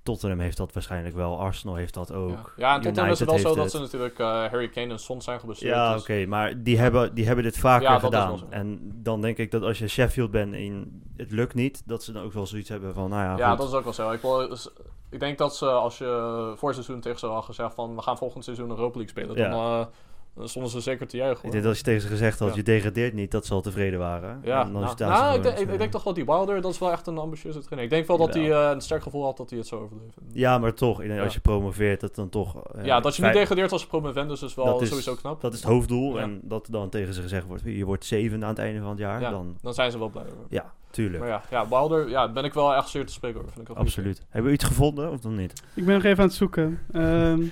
Speaker 3: Tottenham heeft dat waarschijnlijk wel. Arsenal heeft dat
Speaker 4: Ja.
Speaker 3: ook.
Speaker 4: Ja, en Tottenham is het wel
Speaker 3: United
Speaker 4: zo dat
Speaker 3: heeft
Speaker 4: ze natuurlijk eh, Harry Kane en Son zijn geblesseerd.
Speaker 3: Ja,
Speaker 4: dus-
Speaker 3: oké, maar die hebben, die hebben dit vaker
Speaker 4: Ja, dat is wel zo.
Speaker 3: gedaan. En dan denk ik dat als je Sheffield bent en het lukt niet, dat ze dan ook wel zoiets hebben van, nou ja,
Speaker 4: ja,
Speaker 3: goed.
Speaker 4: dat is ook wel zo. Ik, wil- dus, ik denk dat ze als je voor het seizoen tegen ze had gezegd van we gaan volgend seizoen Europa League spelen, dan eh, Dan stonden ze zeker te juichen.
Speaker 3: Ik
Speaker 4: hoor.
Speaker 3: denk dat als je tegen ze gezegd had,
Speaker 4: Ja.
Speaker 3: je degradeert niet, dat ze al tevreden waren.
Speaker 4: Ja,
Speaker 3: En dan
Speaker 4: nou,
Speaker 3: is het
Speaker 4: nou,
Speaker 3: daar
Speaker 4: ik,
Speaker 3: gewoon
Speaker 4: denk, ik,
Speaker 3: zo.
Speaker 4: ik denk toch wel die Wilder, dat is wel echt een ambitieuze trainer. Ik denk wel dat hij
Speaker 3: Jawel.
Speaker 4: eh, een sterk gevoel had dat hij het zou overleven.
Speaker 3: Ja, maar toch, ik denk, als
Speaker 4: Ja.
Speaker 3: je promoveert, dat dan toch... eh,
Speaker 4: Ja, dat je niet
Speaker 3: fijn-
Speaker 4: degradeert als promovendus is wel
Speaker 3: Dat is-
Speaker 4: sowieso knap.
Speaker 3: Dat is het hoofddoel.
Speaker 4: Ja.
Speaker 3: En dat dan tegen ze gezegd wordt, je wordt zeven aan het einde van het jaar.
Speaker 4: Ja.
Speaker 3: Dan,
Speaker 4: Dan zijn ze wel blij over.
Speaker 3: ja, tuurlijk.
Speaker 4: Maar ja, ja Wilder, ja, ben ik wel echt zeer te spreken over. Vind ik wel goed.
Speaker 3: Absoluut. Hebben we iets gevonden of dan niet?
Speaker 2: Ik ben nog even aan het zoeken. Ehm,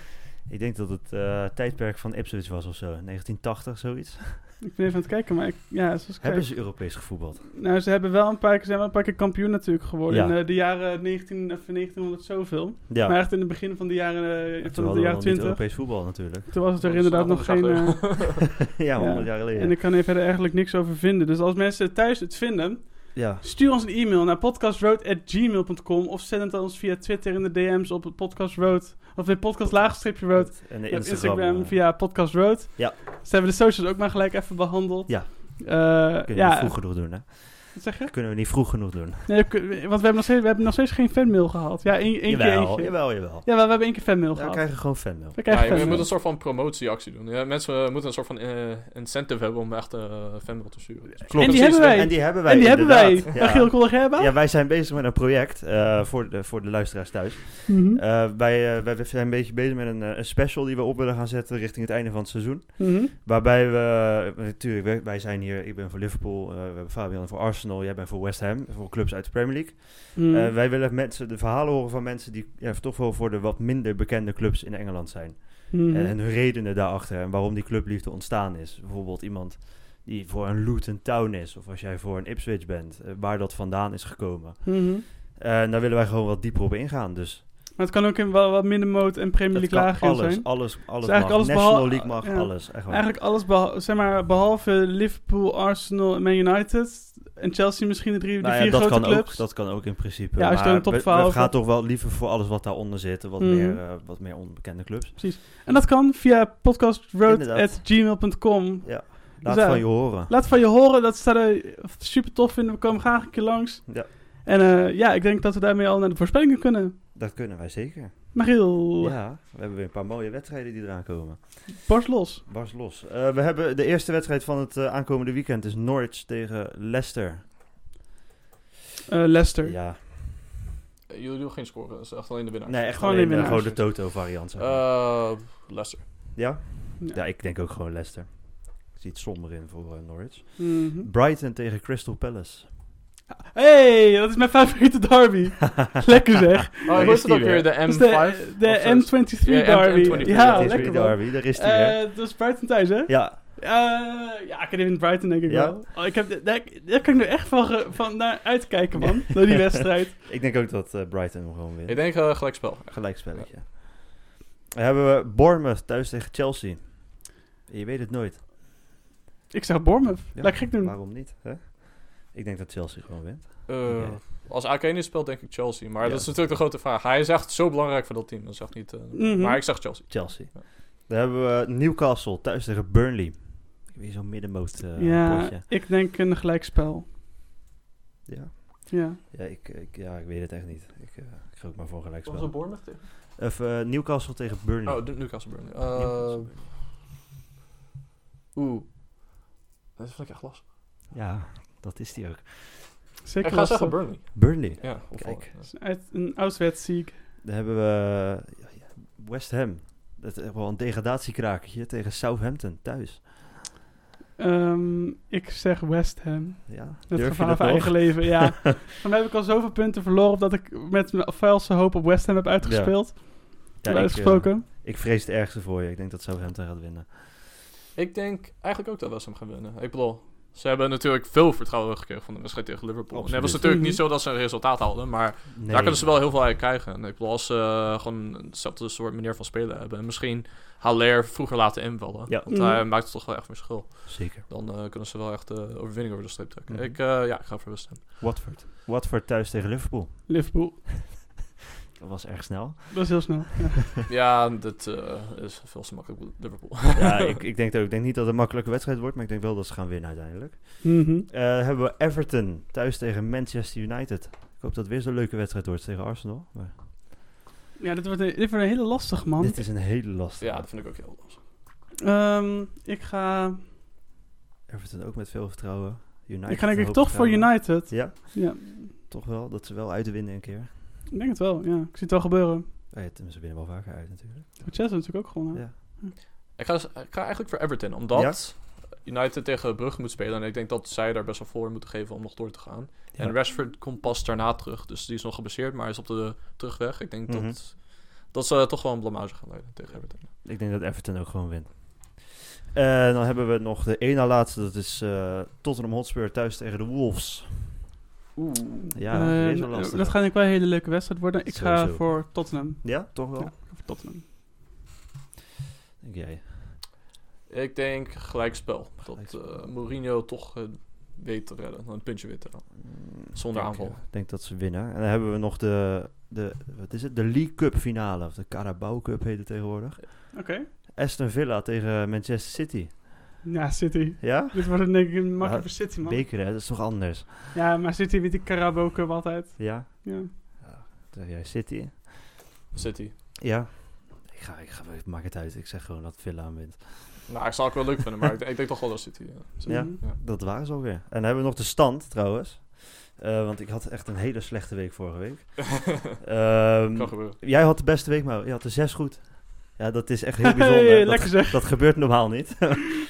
Speaker 3: Ik denk dat het eh, tijdperk van Ipswich was of zo. 1980, zoiets.
Speaker 2: ik ben even aan het kijken, maar ik, ja, zoals ik zei-
Speaker 3: Hebben ze Europees gevoetbald?
Speaker 2: Nou, ze hebben wel een paar keer, zijn wel een paar keer kampioen natuurlijk geworden.
Speaker 3: Ja.
Speaker 2: In eh, de jaren 19 of 1900 zoveel.
Speaker 3: Ja.
Speaker 2: Maar echt in het begin van de jaren, eh,
Speaker 3: Toen
Speaker 2: van de
Speaker 3: hadden we
Speaker 2: jaren
Speaker 3: nog niet
Speaker 2: 20.
Speaker 3: Europees voetbal (laughs) natuurlijk.
Speaker 2: Toen was het
Speaker 4: Dat
Speaker 2: er
Speaker 4: is
Speaker 2: inderdaad nog
Speaker 4: nog
Speaker 2: geen...
Speaker 4: een
Speaker 2: eh,
Speaker 3: (laughs) ja,
Speaker 2: Ja.
Speaker 3: 100 jaar geleden.
Speaker 2: en ik kan er verder eigenlijk niks over vinden. Dus als mensen thuis het vinden,
Speaker 3: Ja.
Speaker 2: stuur ons een e-mail naar podcastroad.gmail.com of zend het ons via Twitter in de DM's op podcastroad. Of bij podcastlaagstreepjeroad.
Speaker 3: En de
Speaker 2: Op
Speaker 3: Instagram.
Speaker 2: Instagram
Speaker 3: eh,
Speaker 2: via podcastroad.
Speaker 3: Ja.
Speaker 2: Dus hebben we de socials ook maar gelijk even behandeld.
Speaker 3: Ja.
Speaker 2: Eh,
Speaker 3: Kunnen we niet
Speaker 2: ja,
Speaker 3: vroeg genoeg doen, hè?
Speaker 2: wat zeg je?
Speaker 3: Kunnen we niet vroeg genoeg doen.
Speaker 2: Nee, we kun- want we hebben, nog steeds, we hebben nog steeds geen fanmail gehad. Ja, één, één keer
Speaker 3: jawel,
Speaker 2: eentje.
Speaker 3: jawel, jawel.
Speaker 2: Ja, wel, we hebben één keer fanmail
Speaker 3: Dan
Speaker 2: gehad.
Speaker 3: krijg je gewoon fanmail.
Speaker 2: We
Speaker 4: Ja,
Speaker 2: krijgen
Speaker 4: je, je moet
Speaker 2: fanmail.
Speaker 4: een soort van promotieactie doen. Ja, mensen eh, moeten een soort van eh, incentive hebben om echt eh fanmail te sturen. Dus-
Speaker 2: En die
Speaker 4: Precies,
Speaker 2: hebben wij.
Speaker 3: En die hebben wij
Speaker 2: en die hebben wij.
Speaker 3: inderdaad.
Speaker 2: Dag Giel Koldergerba.
Speaker 3: Ja, wij zijn bezig met een project eh, voor, de, voor de luisteraars thuis.
Speaker 2: Mhm,
Speaker 3: Eh, wij, eh, wij zijn een beetje bezig met een, eh, een special die we op willen gaan zetten richting het einde van het seizoen.
Speaker 2: mhm.
Speaker 3: Waarbij we, natuurlijk, wij, wij zijn hier, ik ben voor Liverpool, eh, we hebben Fabian voor Arsenal, jij bent voor West Ham, voor clubs uit de Premier League.
Speaker 2: Mhm.
Speaker 3: Eh, wij willen mensen de verhalen horen van mensen die ja, toch wel voor de wat minder bekende clubs in Engeland zijn.
Speaker 2: Mhm.
Speaker 3: En, en hun redenen daarachter en waarom die clubliefde ontstaan is. Bijvoorbeeld iemand die voor een Luton Town is, of als jij voor een Ipswich bent, eh, waar dat vandaan is gekomen.
Speaker 2: Mhm.
Speaker 3: Eh, en daar willen wij gewoon wat dieper op ingaan. Dus
Speaker 2: Maar het kan ook in wel wat minder mode en Premier
Speaker 3: Dat
Speaker 2: League
Speaker 3: kan
Speaker 2: lager
Speaker 3: alles,
Speaker 2: zijn.
Speaker 3: alles, alles,
Speaker 2: Dus eigenlijk
Speaker 3: mag.
Speaker 2: alles
Speaker 3: National
Speaker 2: behal-
Speaker 3: League mag,
Speaker 2: ja.
Speaker 3: alles. Echt waar.
Speaker 2: Eigenlijk alles behal- zeg maar, behalve Liverpool, Arsenal en Man United. En Chelsea misschien de drie,
Speaker 3: Nou
Speaker 2: de
Speaker 3: ja,
Speaker 2: vier
Speaker 3: dat
Speaker 2: grote
Speaker 3: kan
Speaker 2: clubs.
Speaker 3: ook, dat kan ook in principe.
Speaker 2: Ja, als je
Speaker 3: maar
Speaker 2: er een top
Speaker 3: we- we,
Speaker 2: twaalf
Speaker 3: gaan
Speaker 2: hebt.
Speaker 3: toch wel liever voor alles wat daaronder zit, en wat,
Speaker 2: Mhm.
Speaker 3: meer, eh, wat meer onbekende clubs.
Speaker 2: En dat kan via
Speaker 3: Inderdaad.
Speaker 2: podcastroad.gmail.com.
Speaker 3: Laat
Speaker 2: Dus ja.
Speaker 3: van je horen.
Speaker 2: Laat van je horen, dat ze dat super tof vinden. We komen graag een keer langs.
Speaker 3: Ja.
Speaker 2: En eh, ja, ik denk dat we daarmee al naar de voorspellingen kunnen.
Speaker 3: Dat kunnen wij zeker.
Speaker 2: Magiel,
Speaker 3: Ja, we hebben weer een paar mooie wedstrijden die eraan komen.
Speaker 2: barst los.
Speaker 3: Bars los. Eh, we hebben de eerste wedstrijd van het eh, aankomende weekend is Norwich tegen Leicester.
Speaker 2: Eh, Leicester.
Speaker 3: Ja,
Speaker 4: Eh, Jullie doen geen scoren, dat is echt alleen de winnaar.
Speaker 3: nee, echt
Speaker 2: Gewoon
Speaker 3: gewoon, alleen,
Speaker 2: de
Speaker 3: eh,
Speaker 2: winnaars.
Speaker 3: gewoon de Toto-variant. zeg maar.
Speaker 4: Eh, Leicester.
Speaker 3: ja?
Speaker 2: Ja.
Speaker 3: ja, ik denk ook gewoon Leicester. Ik zie het somber in voor eh, Norwich.
Speaker 2: Mhm.
Speaker 3: Brighton tegen Crystal Palace.
Speaker 2: Hey, dat is mijn favoriete
Speaker 3: (laughs)
Speaker 2: derby. lekker zeg.
Speaker 4: Oh, ik
Speaker 3: is
Speaker 4: wist het
Speaker 3: die
Speaker 4: ook
Speaker 3: weer?
Speaker 4: weer, de
Speaker 2: Dat is
Speaker 4: M5.
Speaker 2: de, eh, de
Speaker 4: Of zo.
Speaker 2: M23
Speaker 4: Ja, M-
Speaker 2: derby.
Speaker 4: M23
Speaker 2: ja,
Speaker 4: derby.
Speaker 2: lekker man.
Speaker 3: derby, daar is hij hè?
Speaker 2: Eh, dat is Brighton thuis, hè?
Speaker 3: Ja,
Speaker 2: Eh, ja, ik heb in Brighton denk ik
Speaker 3: Ja.
Speaker 2: wel. Oh, ik heb, daar, daar kan ik nu echt van, ge- van naar uitkijken, man. Door die wedstrijd.
Speaker 3: ik denk ook dat eh, Brighton hem gewoon
Speaker 4: Ik
Speaker 3: wint.
Speaker 4: denk eh gelijkspel.
Speaker 3: Gelijkspelletje. Dan hebben we Bournemouth thuis tegen Chelsea. Je weet het nooit.
Speaker 2: Ik zeg Bournemouth.
Speaker 3: Ja,
Speaker 2: Laat ik gek doen.
Speaker 3: Waarom niet? Hè? Ik denk dat Chelsea gewoon wint.
Speaker 4: Eh,
Speaker 3: Oké.
Speaker 4: Als Arcane speelt, denk ik Chelsea. Maar
Speaker 3: Ja.
Speaker 4: dat is natuurlijk de grote vraag. Hij is echt zo belangrijk voor dat team. Dat is echt niet, eh,
Speaker 2: Mhm.
Speaker 4: Maar ik zeg Chelsea.
Speaker 3: Chelsea.
Speaker 4: Ja.
Speaker 3: Dan hebben we Newcastle thuis tegen Burnley. Ik heb hier zo'n middenmoot eh
Speaker 2: ja,
Speaker 3: potje.
Speaker 2: ik denk een gelijkspel.
Speaker 3: Ja.
Speaker 2: Ja.
Speaker 3: Ja, ik, ik, ja, ik weet het echt niet. Ik, eh, ik ga ook maar voor
Speaker 4: Was het
Speaker 3: gelijkspel.
Speaker 4: Bournemouth tegen?
Speaker 3: Of eh, Newcastle tegen Burnley.
Speaker 4: Oh, de- Newcastle Burnley. Eh,
Speaker 3: Newcastle.
Speaker 4: Oeh. Dat vind ik echt lastig.
Speaker 3: Ja, dat is die ook.
Speaker 2: Zeker
Speaker 4: ik ga
Speaker 2: lastig.
Speaker 4: zeggen Burnley.
Speaker 3: Burnley.
Speaker 4: Ja, of wel,
Speaker 3: Kijk.
Speaker 4: ja.
Speaker 2: Uit een uitwedstrijd.
Speaker 3: Dan hebben we West Ham. Dat is echt wel een degradatiekrakertje tegen Southampton thuis.
Speaker 2: Ehm ik zeg West Ham.
Speaker 3: Ja,
Speaker 2: Het
Speaker 3: durf je
Speaker 2: gevaar
Speaker 3: dat
Speaker 2: van
Speaker 3: nog?
Speaker 2: eigen leven,
Speaker 3: (laughs)
Speaker 2: ja. Van mij heb ik al zoveel punten verloren... dat ik met mijn valse hoop op West Ham heb uitgespeeld.
Speaker 3: Ja, ik,
Speaker 2: uitgesproken.
Speaker 3: eh, ik vrees het ergste voor je. Ik denk dat Southampton gaat winnen.
Speaker 4: Ik denk eigenlijk ook dat West Ham gaan winnen. Ik bedoel, ze hebben natuurlijk veel vertrouwen gekregen van de wedstrijd tegen Liverpool. En
Speaker 3: Absoluut.
Speaker 4: het was natuurlijk
Speaker 2: Mhm.
Speaker 4: niet zo dat ze een resultaat haalden, maar
Speaker 3: Nee.
Speaker 4: daar kunnen ze wel heel veel uit krijgen. En ik bedoel, als ze eh, gewoon eenzelfde soort manier van spelen hebben. En misschien Haller vroeger laten invallen.
Speaker 3: Ja.
Speaker 4: Want hij
Speaker 2: Mhm.
Speaker 4: maakt het toch wel echt verschil.
Speaker 3: Zeker.
Speaker 4: Dan eh, kunnen ze wel echt de overwinning over de streep trekken.
Speaker 3: Mhm.
Speaker 4: Ik, eh, ja, ik ga voor West
Speaker 3: (laughs)
Speaker 4: Ham.
Speaker 3: Watford. Watford thuis tegen Liverpool.
Speaker 2: Liverpool.
Speaker 3: Dat was erg snel. (laughs)
Speaker 2: Dat is heel snel. Ja.
Speaker 4: ja, dat eh, is veel te makkelijk voor Liverpool.
Speaker 3: ja, ik,
Speaker 4: (laughs)
Speaker 3: ik, denk dat, ik denk niet dat het een makkelijke wedstrijd wordt, maar ik denk wel dat ze gaan winnen uiteindelijk.
Speaker 2: Mhm.
Speaker 3: Eh, hebben we Everton thuis tegen Manchester United. Ik hoop dat het weer zo'n leuke wedstrijd wordt tegen Arsenal. Maar
Speaker 2: ja, dit wordt, een, dit wordt een hele lastig, man.
Speaker 3: dit is een hele lastige.
Speaker 4: ja, dat vind ik ook heel lastig.
Speaker 2: Ehm, ik ga,
Speaker 3: Everton ook met veel vertrouwen. United
Speaker 2: ik ga denk
Speaker 3: met
Speaker 2: ik
Speaker 3: hoop
Speaker 2: toch voor
Speaker 3: vertrouwen.
Speaker 2: United.
Speaker 3: Ja,
Speaker 2: Ja,
Speaker 3: toch wel. Dat ze wel uit de winnen een keer.
Speaker 2: ik denk het wel. Ja, ik zie het wel gebeuren.
Speaker 3: Oh ja, tenminste, ze winnen wel vaker uit natuurlijk.
Speaker 2: Chelsea natuurlijk ook gewonnen.
Speaker 3: Ja.
Speaker 4: Ik ga, dus, ik ga eigenlijk voor Everton, omdat United tegen Brugge moet spelen. En ik denk dat zij daar best wel voor moeten geven om nog door te gaan.
Speaker 3: Ja.
Speaker 4: En Rashford komt pas daarna terug. Dus die is nog geblesseerd, maar hij is op de terugweg. Ik denk
Speaker 3: Mhm.
Speaker 4: dat, dat ze toch wel een blamage gaan leiden tegen Everton.
Speaker 3: Ik denk dat Everton ook gewoon wint. Eh, dan hebben we nog de ene laatste. Dat is eh, Tottenham Hotspur thuis tegen de Wolves.
Speaker 2: Oeh.
Speaker 3: Ja, die is wel lastig.
Speaker 2: Ehm, dat gaat denk ik wel een hele leuke wedstrijd worden. Ik ga
Speaker 3: Sowieso.
Speaker 2: voor Tottenham.
Speaker 3: Ja, toch wel?
Speaker 2: Ja, ik ga voor Tottenham.
Speaker 3: Denk jij.
Speaker 4: Ik denk gelijkspel. Dat
Speaker 3: Gelijkspel.
Speaker 4: eh, Mourinho toch eh, weet te redden. Een puntje wit te halen. Zonder
Speaker 3: Ik
Speaker 4: aanval.
Speaker 3: eh, denk dat ze winnen. En dan hebben we nog de, de, wat is het? de League Cup finale. Of de Carabao Cup heet het tegenwoordig.
Speaker 2: Oké.
Speaker 3: Aston Villa tegen Manchester City.
Speaker 2: Ja, City.
Speaker 3: Ja?
Speaker 2: Dit wordt denk ik een makkelijk
Speaker 3: Ja,
Speaker 2: voor City, man.
Speaker 3: Beker, hè? Dat is toch anders?
Speaker 2: Ja, maar City wint die Carabao Cup altijd.
Speaker 3: Ja?
Speaker 2: Ja.
Speaker 3: Zeg jij City?
Speaker 4: City.
Speaker 3: Ja. Ik ga, ik ga, ik maak het uit. Ik zeg gewoon dat Villa hem wint.
Speaker 4: Nou, ik zou het wel leuk vinden, maar ik, denk- ik denk toch wel dat City. eh, ja. (laughs)
Speaker 3: Ja.
Speaker 2: Mhm.
Speaker 3: Dat waren ze alweer. En dan hebben we nog de stand, trouwens. Eh, want ik had echt een hele slechte week vorige week. Ehm,
Speaker 4: kan gebeuren.
Speaker 3: jij had de beste week, maar je had de zes goed. Ja, dat is
Speaker 2: (laughs)
Speaker 3: echt heel bijzonder.
Speaker 2: Hey,
Speaker 3: Dat-
Speaker 2: lekker zeg.
Speaker 3: dat gebeurt normaal niet.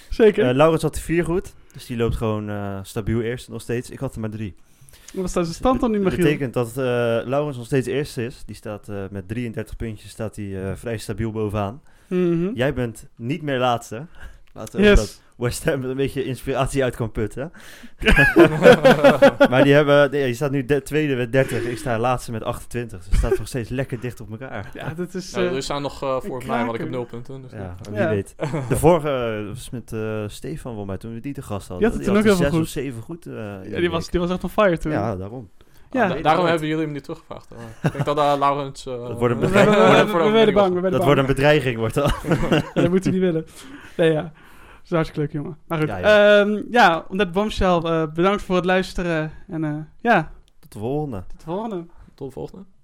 Speaker 2: Zeker.
Speaker 3: Eh, Laurens had de vier goed. Dus die loopt gewoon eh, stabiel eerst nog steeds. Ik had er maar drie.
Speaker 2: Wat staat zijn stand dan nu,
Speaker 3: Dat
Speaker 2: Michiel?
Speaker 3: betekent dat eh Laurens nog steeds eerste is. Die staat eh, met 33 puntjes staat hij eh, vrij stabiel bovenaan.
Speaker 2: Mhm.
Speaker 3: Jij bent niet meer laatste. Laten we hopen dat
Speaker 2: Yes.
Speaker 3: West Ham er een beetje inspiratie uit kan putten. maar die, hebben, nee, je staat nu de- tweede met 30. Ik sta laatste met 28. Dus het staat nog steeds lekker dicht op elkaar.
Speaker 2: Ja, dat is...
Speaker 4: Nou,
Speaker 2: eh,
Speaker 4: er staan nog eh, voor
Speaker 2: een
Speaker 4: mij, want ik
Speaker 2: kraker.
Speaker 4: heb nul punten. Dus
Speaker 3: Ja, wie
Speaker 2: Ja.
Speaker 3: weet. De vorige eh, was met eh, Stefan, volgens mij, toen we die te gast hadden.
Speaker 2: Die had het toen
Speaker 3: er
Speaker 2: ook heel
Speaker 3: zes
Speaker 2: veel
Speaker 3: of zeven goed. eh, in
Speaker 2: ja,
Speaker 3: de
Speaker 2: die was,
Speaker 3: week.
Speaker 2: die was echt on fire toen. (laughs)
Speaker 3: Ja, daarom.
Speaker 2: Ja.
Speaker 4: Da-
Speaker 3: weet
Speaker 4: daarom
Speaker 3: het.
Speaker 4: hebben jullie hem niet teruggevraagd. hoor. ik denk dat daar Laurens... eh,
Speaker 3: Dat wordt
Speaker 4: (laughs)
Speaker 3: een
Speaker 2: We,
Speaker 4: wordt-
Speaker 2: werden- we,
Speaker 4: wordt-
Speaker 2: werden- we
Speaker 4: wordt-
Speaker 2: werden bang, we werden
Speaker 3: Dat
Speaker 2: bang.
Speaker 3: wordt een bedreiging, wordt dat.
Speaker 2: Ja, dat moeten we niet willen. Nee, ja. Dat is hartstikke leuk, jongen. Maar goed.
Speaker 3: Ja,
Speaker 2: Ja,
Speaker 3: ja.
Speaker 2: ja om dat bombshell, eh, bedankt voor het luisteren. En eh, ja,
Speaker 3: Tot de volgende.
Speaker 2: tot de volgende.
Speaker 4: Tot de volgende.